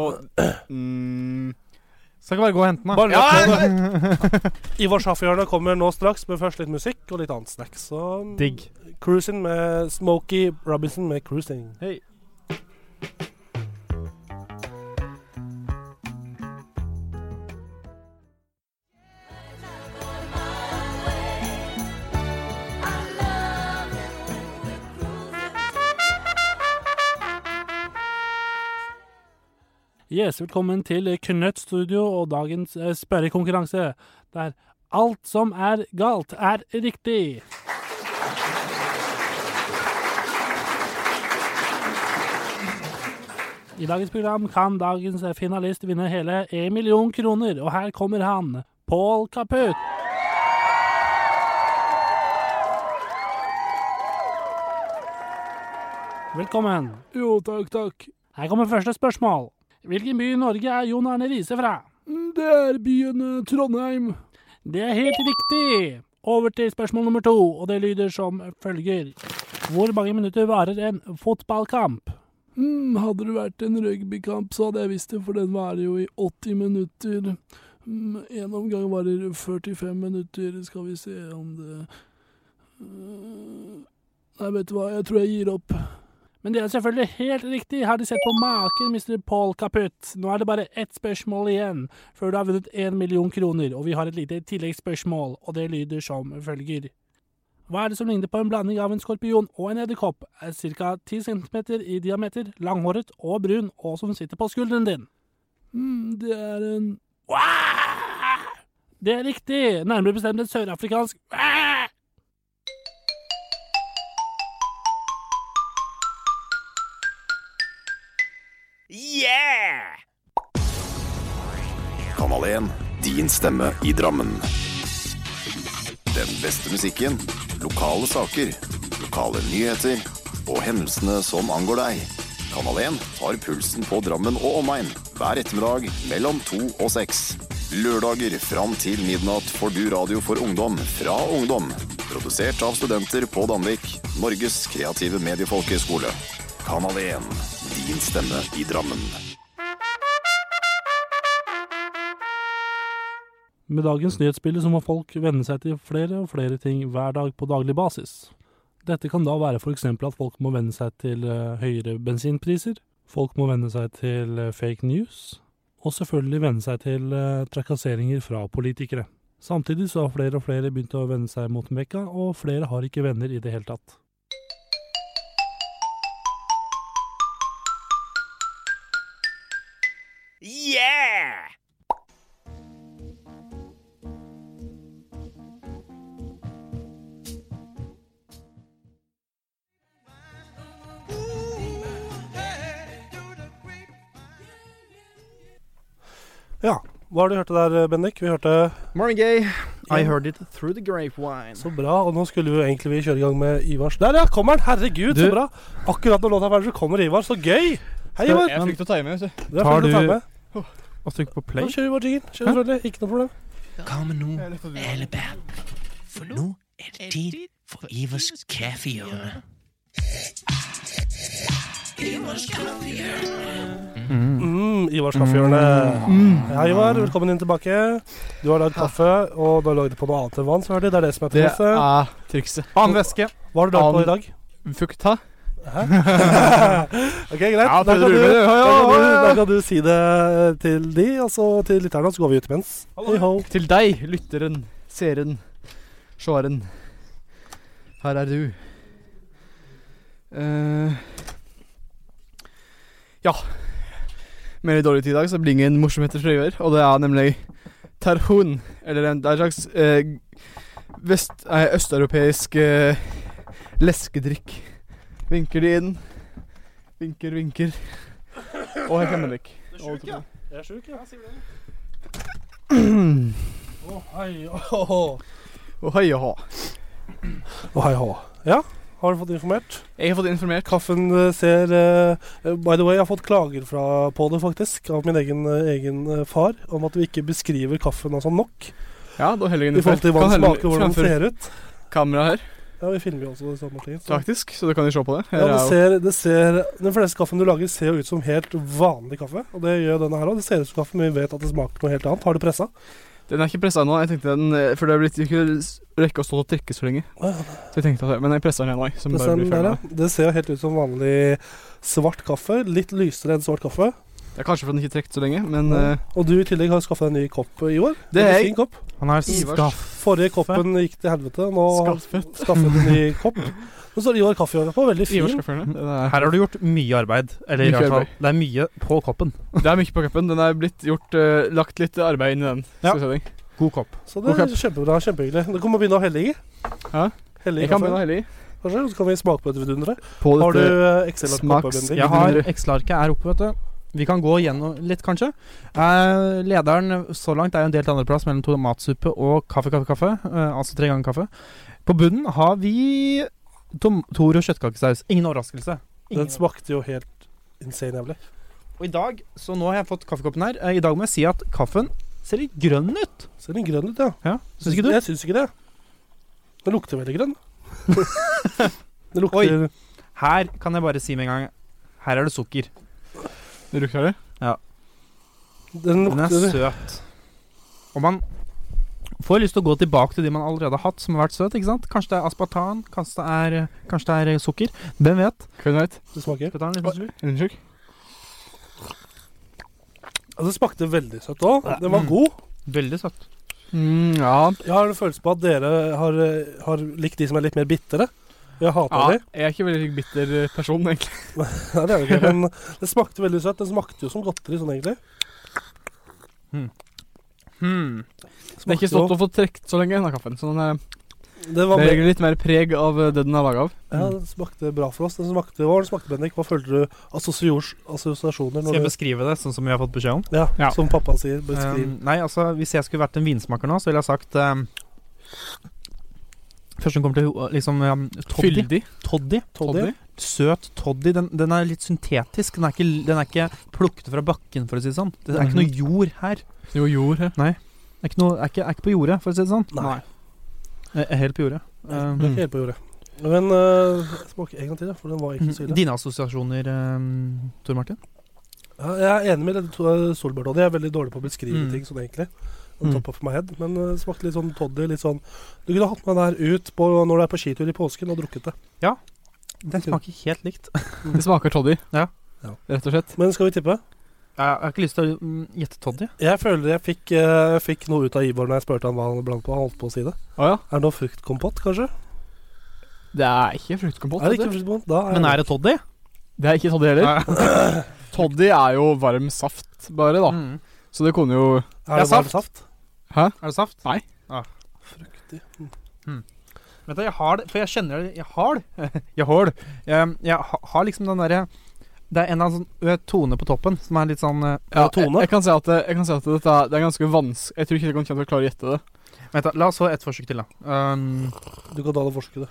mm, Skal ikke bare gå og hente den, da. Bare løp med det. Ivar Sjaffjørnet kommer nå straks, men først litt musikk og litt annet snacks. Så *laughs* mm. Digg. Cruising med Smokey Robinson med Cruising. Yes, velkommen til Knøtt Studio og dagens eh, spørrekonkurranse, der alt som er galt, er riktig. I dagens program kan dagens finalist vinne hele 1 million kroner, og her kommer han, Pål Kaputt. Velkommen. Jo, takk, takk. Her kommer første spørsmål. Hvilken by i Norge er Jon Arne Riise fra? Mm, Det er byen eh, Trondheim. Det er helt riktig. Over til spørsmål nummer to, og det lyder som følger. Hvor mange minutter varer en fotballkamp? Mm, hadde det vært en rugbykamp, så hadde jeg visst det, for den varer jo i 80 minutter. Mm, en omgang varer 45 minutter, skal vi se om det Mm, Nei, vet du hva, jeg tror jeg gir opp. Men det er selvfølgelig helt riktig. Har de sett på maken, Mr. Paul Kaputt? Nå er det bare ett spørsmål igjen før du har vunnet én million kroner, og vi har et lite tilleggsspørsmål, og det lyder som følger. Hva er det som ligner på en blanding av en skorpion og en edderkopp, er ca. 10 cm i diameter, langhåret og brun, og som sitter på skulderen din? Mm, det er en Det er riktig! Nærmere bestemt et sørafrikansk Yeah! Kanal 1, din stemme i Drammen. Den beste musikken, lokale saker, lokale nyheter og hendelsene som angår deg. Kanal 1 tar pulsen på Drammen og omegn hver ettermiddag mellom to og seks. Lørdager fram til midnatt får du radio for ungdom fra ungdom. Produsert av studenter på Danvik, Norges kreative mediefolkehøgskole. Kanal 1, din stemme i Drammen. Med dagens nyhetsbilde så må folk venne seg til flere og flere ting hver dag på daglig basis. Dette kan da være f.eks. at folk må venne seg til eh, høyere bensinpriser, folk må venne seg til eh, fake news, og selvfølgelig venne seg til eh, trakasseringer fra politikere. Samtidig så har flere og flere begynt å vende seg mot Mekka, og flere har ikke venner i det hele tatt. Yeah! Ja. Hva har du hørt der, Bendik? Vi hørte Morning Gay. I heard it through the grapevine. Så bra. Og nå skulle jo egentlig vi kjøre i gang med Ivars Der, ja! Kommer han! Herregud, Du- så bra! Akkurat når låta er ferdig, så kommer Ivar. Så gøy! Hei, Skal- Ivar. jeg er flink til å time, vet du. er Tar flink til å du- time. Og trykk Da på play. kjører vi bare jingen. Kjører selvfølgelig. Ikke noe problem. Kom nå, alle barn. For nå er det tid for Ivers kaffehjørne. Ivers kaffehjørne. Mm, Ivars kaffehjørne. Ja, Mm. Ivar, velkommen inn tilbake. Du har lagd kaffe, og du har lagd det på noe annet enn vann. Så er det, det er det som er Det trikset. er trikset. Annen væske. Hva har du lagd på i *laughs* dag? Fukt, hæ? Hæ? ok, greit. Ja, prøv å da, kan du, rulle med det. Ja, da, ja, kan du, ja, ja. da kan du si det eh, til de, og så til lytterne, og så går vi ut imens. Hei ho. Til deg, lytteren, seeren, sjåeren. Her er du. Eh, ja. Med litt dårlig tid i dag, så blir det ingen morsomheter fra i år. Og det er nemlig tarhun. Eller en, det er en slags eh, vest, nei, østeuropeisk eh, leskedrikk. Vinker de inn. Vinker, vinker. Og her kommer Henrik. sjuk, ja. Jeg er sjuk, *clears throat* ja. Å, hei, Og hei og hå. Å, hei hå. Ja, har du fått informert? Jeg har fått informert. Kaffen eh, ser eh, By the way, jeg har fått klager fra, på det, faktisk, av min egen, eh, egen eh, far, om at vi ikke beskriver kaffen altså nok. Ja, da heller jeg I forhold til hva den smaker, hvordan den ser ut. Kamera her, Ja, vi filmer jo også det samme ting. så- faktisk, så du kan jo se på det. Her Ja, det er jo- ser, det ser, Den fleste kaffen du lager, ser jo ut som helt vanlig kaffe. Og det gjør denne her òg. Det ser ut som kaffe, men vi vet at det smaker noe helt annet. Har du pressa? Den er ikke pressa ennå. Jeg tenkte den eh, For det er blitt ikke rekke å stå og trekke så lenge. Så jeg tenkte at Men jeg presser den ennå. jeg, så den bare Den blir der, ferdig ja. med. Det ser jo helt ut som vanlig svart kaffe. Litt lysere enn svart kaffe. Det er kanskje fordi den ikke er trukket så lenge, men Ja. eh, Og du i tillegg har skaffa deg en ny kopp i år. Det er Veldig jeg. Fin kopp. Han har Ivars. Forrige koppen gikk til helvete. Nå har han Skaffet. skaffet en ny *laughs* kopp. Nå står Ivar Kaffehjørnet på. Veldig Ivars fin. kaffehjørne. Den er- Her har du gjort mye arbeid. Eller i Mye hvert fall, arbeid. det er mye på koppen. Det er mye på cupen. Den er blitt gjort eh, Lagt litt arbeid inn i den. Ja. Skal vi se den. God kopp. Så det God er kjempebra. Kjempehyggelig. Du kommer begynne å helle i. Ja. Helle i Jeg kan kaffe. begynne hellig. Kanskje, så kan vi smake på et vidundere. På Har du dette eh, Excel-ark oppe, smaks- Bendik? Ja. Jeg har Excel-arket er oppe, vet du. Vi kan gå gjennom litt, kanskje. Eh, lederen så langt er jo en delt andreplass mellom tomatsuppe og kaffe, kaffe, kaffe. Eh, altså tre ganger kaffe. På bunnen har vi tom Toro kjøttkakesaus. Ingen overraskelse. Den Ingen smakte jo helt insane jævlig. Og i dag, så nå har jeg fått kaffekoppen her. Eh, I dag må jeg si at kaffen ser litt grønn ut. Ser den grønn ut, ja. Ja, Syns ikke du? Jeg syns ikke det. Den lukter veldig *laughs* grønn. det lukter Oi. Her kan jeg bare si med en gang Her er det sukker. Du lukter det? Den Den er lukter søt. Og man får lyst til å gå tilbake til de man allerede har hatt, som har vært søt, ikke sant? Kanskje det er aspartan, kanskje det er, kanskje det er sukker. Hvem vet? Hvem vet? Det smaker. Skal vi ta en liten slurk? Er den tjukk? Ja, det smakte veldig søtt òg. Den var god. Veldig søtt. Mm, ja. Jeg har en følelse på at dere har, eh, har likt de som er litt mer bitre. Jeg hater ja. de. Jeg er ikke veldig bitter person, egentlig. Nei, det er det ikke, men det smakte veldig søtt. Den smakte jo som godteri sånn, egentlig. Hmm. Den har ikke Smakte stått og fått trukket så lenge, denne kaffen. Så den er jo- det, var Det mer, legger litt mer preg av eh, det den er laga av. ja, den smakte bra for oss. Den smakte, hva var den smakte, Bendik? Hva følte du assosios- assosiasjoner Skal jeg når du beskrive det sånn som vi har fått beskjed om? ja, Ja. Som pappa sier. Beskriv. Um, nei, altså, hvis jeg skulle vært en vinsmaker nå, så ville jeg sagt um, Først som kommer til ho- liksom um, toddy. Fyldig. toddy. Toddy. Søt toddy. Den, den er litt syntetisk. Den er, ikke, den er ikke plukket fra bakken, for å si det sånn. Det er ikke noe jord her. Jo, jord her. Det er ikke, noe, er ikke, er ikke på jordet, for å si det sånn. Nei. Jeg er helt på jordet. Det er Um, ikke helt på jordet. Men uh, smak en gang til, da, for den var ikke så ille. dine assosiasjoner, um, Tor Martin? Ja, jeg er enig med det to- eh, Solbjørn Toddy. Jeg er veldig dårlig på å beskrive Mm. ting sånn egentlig. Mm. On top of my head. Men eh, det smakte litt sånn toddy. Litt sånn Du kunne hatt med den her ut på, når du er på skitur i påsken og drukket det. Den smaker helt *laughs* likt. Det smaker toddy. Ja. Ja. Rett og slett. Men skal vi tippe? Jeg har ikke lyst til å mm, gjette toddy. Jeg føler jeg fikk, eh, fikk noe ut av Ivor når jeg spurte han hva han blant på. Han holdt på å si det. Å ja. Er det noe fruktkompott, kanskje? Det er ikke fruktkompott. Er vet det ikke du. fruktkompott? Da er Men er det toddy? det er ikke toddy heller. Toddy er jo varm saft, bare, da. Mm. Så det kunne jo er det saft. varm saft? Er det saft? Ah. Mm. Nei. Fruktig. Vet du, jeg har det, for jeg kjenner det Jeg har det. *laughs* Jeg har det. Jeg, jeg ha- har liksom den derre Det er en av sånn ø, tone på toppen som er litt sånn ø, ja, tone? eh, Jeg, jeg kan si at, det- jeg kan si at dette er, det er ganske vanskelig Jeg tror ikke jeg kommer til å klare å gjette det. Vent da, La oss få ett forsøk til, da. Um, du kan ta det forskudd.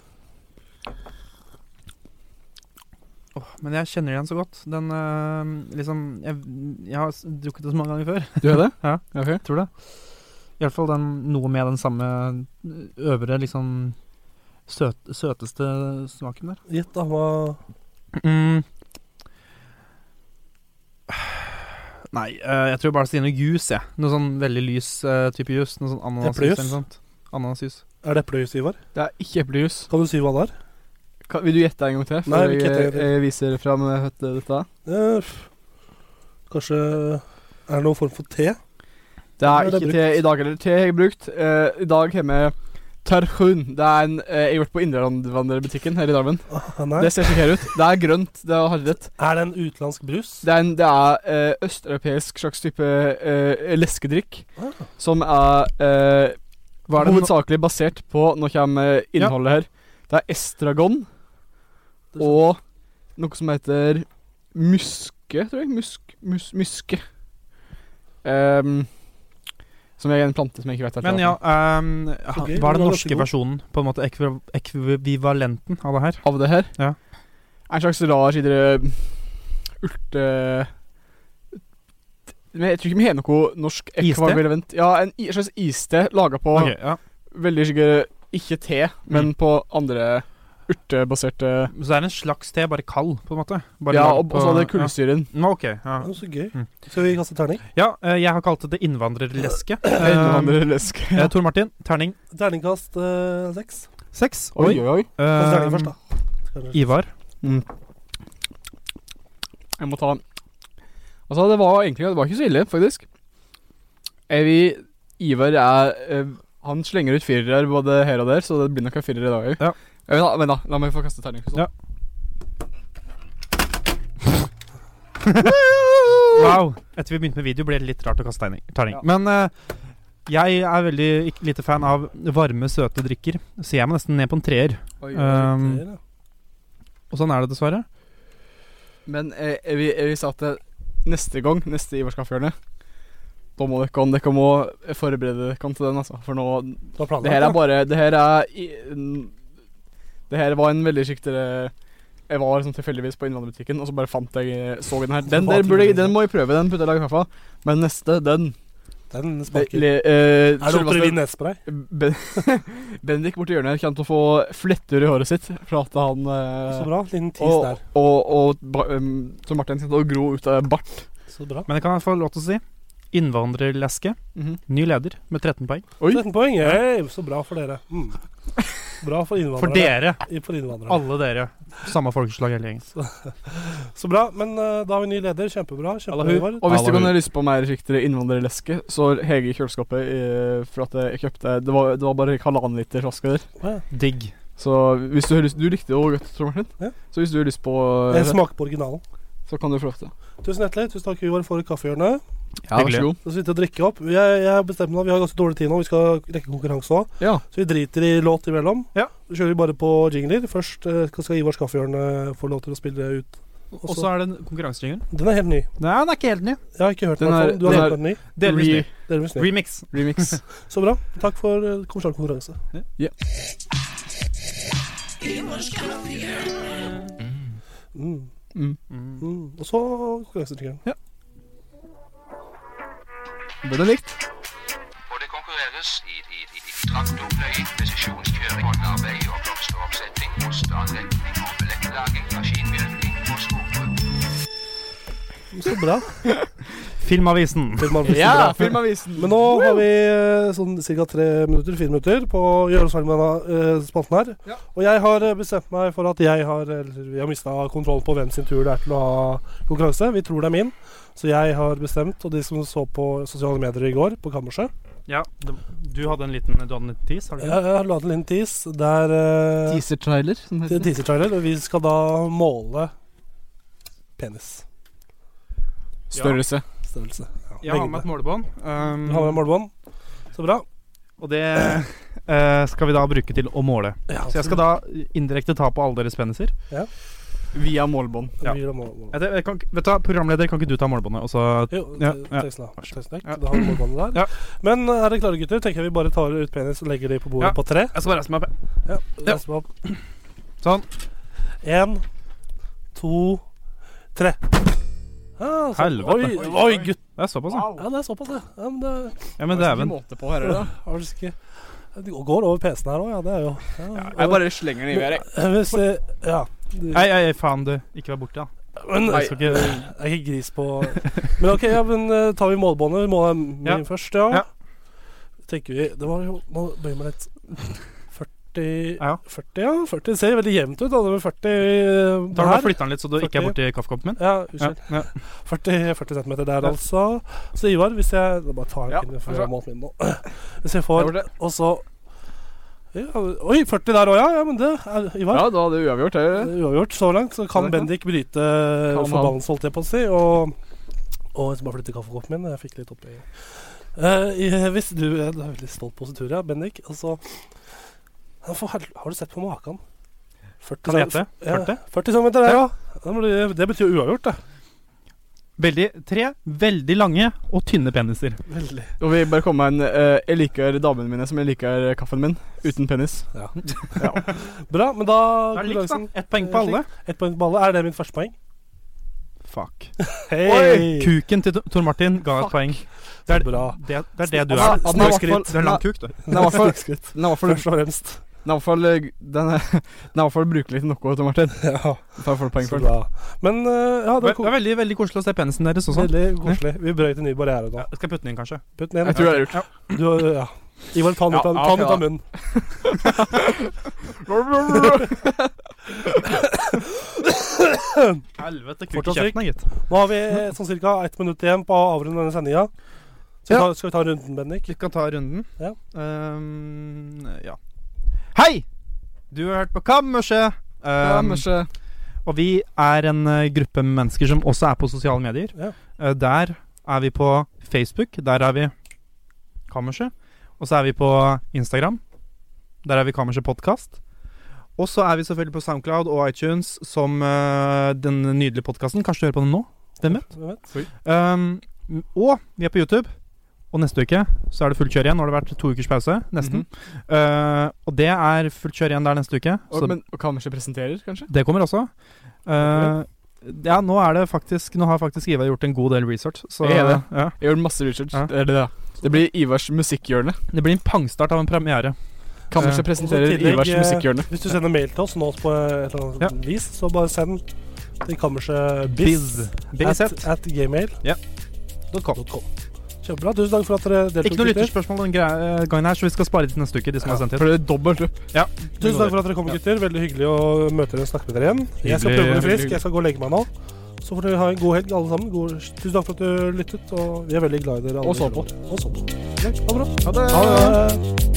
Åh, men jeg kjenner igjen så godt. Den eh, liksom jeg, jeg har s- drukket det så mange ganger før. *laughs* Du har *laughs* det? ja, Ok. tror det. I hvert fall den, noe med den samme øvre, liksom søt, søteste smaken der. Gjett, da. Hva Mm. *sighs* Nei, eh, jeg tror bare Stine Juice, jeg. Noe sånn veldig lys eh, type jus. Noe sånn ananasjus Eplejus? eller noe sånt. Ananasjus. Er det eplejus, Ivar? Det er ikke eplejus. Kan du si hva det er? Kan, vil du gjette en gang til? Nei, Før vi jeg, gjetter en jeg, gang til. viser fram eh, dette. Eh, f- kanskje Er det noen form for te? Det Eller er ikke brukt? te i dag heller. Te har jeg brukt. Eh, I dag har vi tarhun. Det er en eh, jeg har vært på innvandrerbutikken her i Drammen. Ah, nei. Det ser slik her ut. Det er grønt. Det er harret. Er det en utenlandsk brus? Det er, en, det er eh, østeuropeisk slags type eh, leskedrikk Ah. som er eh, Hva er det Mono- hovedsakelig basert på? Nå kommer eh, innholdet her. Det er estragon og noe som heter muske, tror jeg. Musk, mus, muske. Ehm, som er en plante som jeg ikke vet helt Men hva ja, er. ehm, ha- Ok, hva er den er den norske ganske god. versjonen? På en måte ekvi- ekvivalenten av det her? Av det her? Ja. En slags rar sånn sidere urte... Men jeg tror ikke vi har noe norsk Iste? ekvivalent. Ja, en i- en slags iste laga på Ok, Mm. ja. veldig sikkert eh, ikke te, men på andre urtebaserte Så det er en slags te, bare kald, på en måte? Bare Ja, lagd og- på- og så hadde kullsyren. Ja. Nå, ok, ja. Det er så gøy. Skal vi kaste terning? Ja, eh, jeg har kalt det det innvandrerleske. *clears throat* Innvandrerleske, Eh, Tor Martin, terning Terningkast eh, seks. seks. Oi, oi, oi. Kast Eh, terning først, da. Skal vi- Ivar. Jeg må ta Altså, det var egentlig Det var ikke så ille, faktisk. Evi Ivar er eh, Han slenger ut firere både her og der, så det blir nok en firer i dag òg. Ja. Vent, da. La meg få kaste terning. liksom. Ja. Wow. Etter vi begynte med video, ble det litt rart å kaste terning. terning. Men eh, jeg er veldig ikk- lite fan av varme, søte drikker, så jeg må nesten ned på en treer. Oi, Um, treer, ja. og sånn er det dessverre. Men eh, Evi, Evi sa at det- neste gang, neste Ivars kaffehjørne da må dere, dere må forberede dere til den, altså. For nå planlagt, Det her da. er bare Det her er i- n- Det her var en veldig siktere Jeg var sånn tilfeldigvis på innvandrerbutikken, og så bare fant jeg eh, så den her. Den der burde jeg, den må jeg prøve. Den putter jeg i kaffe. Men neste, den Den smaker. eh, Er det selveste- Otrevin Nesbray? Ben *laughs* Bendik borti hjørnet her kommer til å få flettur i håret sitt. For at han eh, Så bra, liten tis og, der. Og, og, ba- um, så Martin kommer til å gro ut av bart. Så bra. Men jeg kan få lov til å si innvandrerleske. Mhm. Ny leder med 13 poeng. 13 poeng. Hey, så bra for dere. Mm. Bra for innvandrere. For dere. I- For innvandrere. Alle dere. Samme folkeslag hele gjengen. Så bra. Men eh, da har vi ny leder. Kjempebra. Kjempebra, Ivar. Eh, Og hvis du kan ha lyst på mer riktigere innvandrerleske, så har jeg i kjøleskapet eh, for at jeg kjøpte Det var, det var bare halvannen liter flaske Ja. der. Digg. Så hvis du har lyst Du likte det jo godt, Tor Martin. Så hvis du har lyst på Jeg smaker på originalen. Så kan du få lov til det. Tusen hjertelig. Tusen takk, Ivar, for kaffehjørnet. Ja, vær så god. Så sitter vi og drikker opp. Jeg, jeg bestemmer meg, Vi har ganske dårlig tid nå. Vi skal rekke konkurranse òg. Ja. Så vi driter i låt imellom. Så kjører vi bare på jingler. Først eh, skal Ivars kaffehjørne få lov til å spille ut. Og så er det en konkurransejingle. Den er helt ny. Nei, den er ikke helt ny. Jeg har ikke hørt den. i Den hvert er- fall. Du har den hørt er den ny? delvis ny. Delvis ny. Remix. *laughs* Remix. så bra. Takk for eh, kommersiell konkurranse. Mm. Mm. Og så konkurransetrikken. Ja. Den er likt. Hvor det konkurreres i, i, i, i traktorpløying, presisjonskjøring, håndarbeid og blomsteroppsetting, osteanretning og billettlaging, maskinvirkning og skogbruk. Så bra. Filmavisen. Filmavisen, bra. Men nå har vi eh, sånn ca. tre minutter, fire minutter på å gjøre oss ferdig med denne eh, spalten her. Og jeg har eh, bestemt meg for at jeg har eller vi har mista kontrollen på hvem sin tur det er til å ha konkurranse. Vi tror det er min, så jeg har bestemt. Og de som så på sosiale medier i går, på kammerset Ja, det- du hadde en liten du hadde en liten tis? Har du Jeg jeg har laget en liten tease der eh, Teaser-trailer, som det det er heter. en Teaser-trailer. og Vi skal da måle penis. Størrelse. Størrelse. Ja, Jeg har lengde. med et målebånd. Um, Du har med målebånd. Så bra. Og det eh, skal vi da bruke til å måle. Ja, så så jeg skal da indirekte ta på alle deres peniser. Ja. Via målbånd. Ja. Jeg vet- jeg kan, ikke- vet du, hva, programleder, kan ikke du ta målbåndet? Og så Jo, ja, ja. Tesla. Tesla. Da har vi målbåndet der. Men eh, er dere klare, gutter? Tenker jeg vi bare tar ut penis og legger de på bordet Ja. på tre. Jeg skal bare reise meg opp. jeg. Ja, reis meg opp. Sånn. Én, to, tre. Ja, så- Helvete. Oi, oi, gutt. Det er såpass, ja. Ja, det er såpass, ja. Ja, men det Ja, Det Altså. er men ikke dæven. måte på her, er det? Har du ikke Det går over PC-en her òg, ja. Det er jo ja. Jeg bare slenger den i været, jeg. Hvis eh, Ja. du- Nei, nei, nei, faen, du. Ikke vær borte, da. Men jeg jeg skal det ikke er ikke gris på Men ok, ja, men eh, tar vi målbåndet? Vi må ha min Ja. først, ja. Ja. Tenker vi Det var jo Nå bøyer jeg meg litt. 40 ja. 40, ja. 40 Det ser veldig jevnt ut, da. Det var 40 eh, Tar du her. og Flytter den litt, så du ikke er 40. borti kaffekoppen min? Ja, unnskyld. Ja, ja. 40, 40 cm der, Ja. altså. Så Ivar, hvis jeg da Bare ta en pinne for vær å så god. måle min nå. Hvis jeg får Og så ja, Oi, 40 der òg, ja. ja. Men det er Ivar. Ja, da hadde det uavgjort. Er det? Uavgjort så langt, så kan Er det ikke? Bendik bryte han. forbannelsen, holdt jeg på å si. Og, og jeg skal bare flytte kaffekoppen min. Jeg fikk litt oppi. Eh, i- hvis du eh, Du er veldig stolt positur, ja, Bendik. Altså ja, for hel- Har du sett på maken? 40 Kan det cm- hete? 40? Ja, 40 cm der, ja. Da må du- Det betyr jo uavgjort, det. Veldig, tre veldig lange og tynne peniser. Veldig. Og vi bare komme med en eh, Jeg liker damene mine som jeg liker kaffen min, uten penis. Ja. Bra, men da Da er det likt, da. konkurransen- Ett poeng på alle. Ett poeng på alle. Er det mitt første poeng? Fuck. Hei. Oi! Kuken til Tor Martin ga et Fuck. poeng. Det er bra. det, det, er det du Altså, er. den er i hvert fall- Snøskritt. Du er lang kuk, du. Den er i hvert fall- Snøskritt. den er i hvert fall- Først og fremst. Den er i hvert fall, eh, den er- den er i hvert fall brukelig til noe, Tom Martin. Ja. Da får du poeng Så for bra. Men eh, ja, Det det er veldig, veldig koselig å se penisen deres også. Veldig koselig. Vi brøyt en ny barriere nå. Skal jeg putte den inn, kanskje? Putt den inn. Jeg tror det er lurt. Ja. Du, har- ja. Ivar, ta den ut av, Ja, ta den ok, ut av da. munnen. Helvete, kuk i Fortsatt kjeften, syk. gitt. Nå har vi eh, sånn ca. ett minutt igjen på å avrunde denne sendinga. Skal, vi Ja. ta- skal vi ta runden, Bendik? Vi kan ta runden. Ja. Ehm, ja. Hei! Du har hørt på Kammerset. Um, Ehm, Kammerset. og vi er en eh, gruppe med mennesker som også er på sosiale medier. Ja. Eh, der er vi på Facebook. Der er vi Kammerset. Og så er vi på Instagram. Der er vi Kammerset Podkast. Og så er vi selvfølgelig på SoundCloud og iTunes som eh, den nydelige podkasten. Kanskje du hører på den nå? Hvem vet? Hvem vet? Um, og vi er på YouTube. Og neste uke så er det fullt kjør igjen. Nå har det vært to ukers pause, nesten. Uh, og det er fullt kjør igjen der neste uke. Og, så men og Kammerset presenterer, kanskje? det kommer også. Uh, ja, nå er det faktisk Nå har faktisk Ivar gjort en god del research. Så Jeg er det. Ja. Jeg gjør masse research. Ja. Det, er det, da. det blir Ivars musikkhjørne. det blir en pangstart av en premiere. Kammerset Eh, presenterer Og så i tillegg, Ivars eh, musikkhjørne. Hvis du sender mail til oss nå på et eller annet vis, så bare send til kammerset biz, Biz. at, at gmail. Ja. .com. Kjempebra. Tusen takk for at dere deltok. Ikke noe gutter. lytterspørsmål den gre- eh, gangen her, så vi skal spare det til neste uke. De som har sendt inn. For det er dobbelt opp. Ja. Tusen takk for at dere kom, gutter. Veldig hyggelig å møte dere og snakke med dere igjen. Jeg skal prøve å Hyggelig, bli veldig frisk. Jeg skal gå og legge meg nå. Så får dere ha en god helg, alle sammen. God, tusen takk for at du lyttet, og vi er veldig glad i dere. alle Og så på. sammen. Og så på. Ja, Ha det bra. Ha det. Ha det.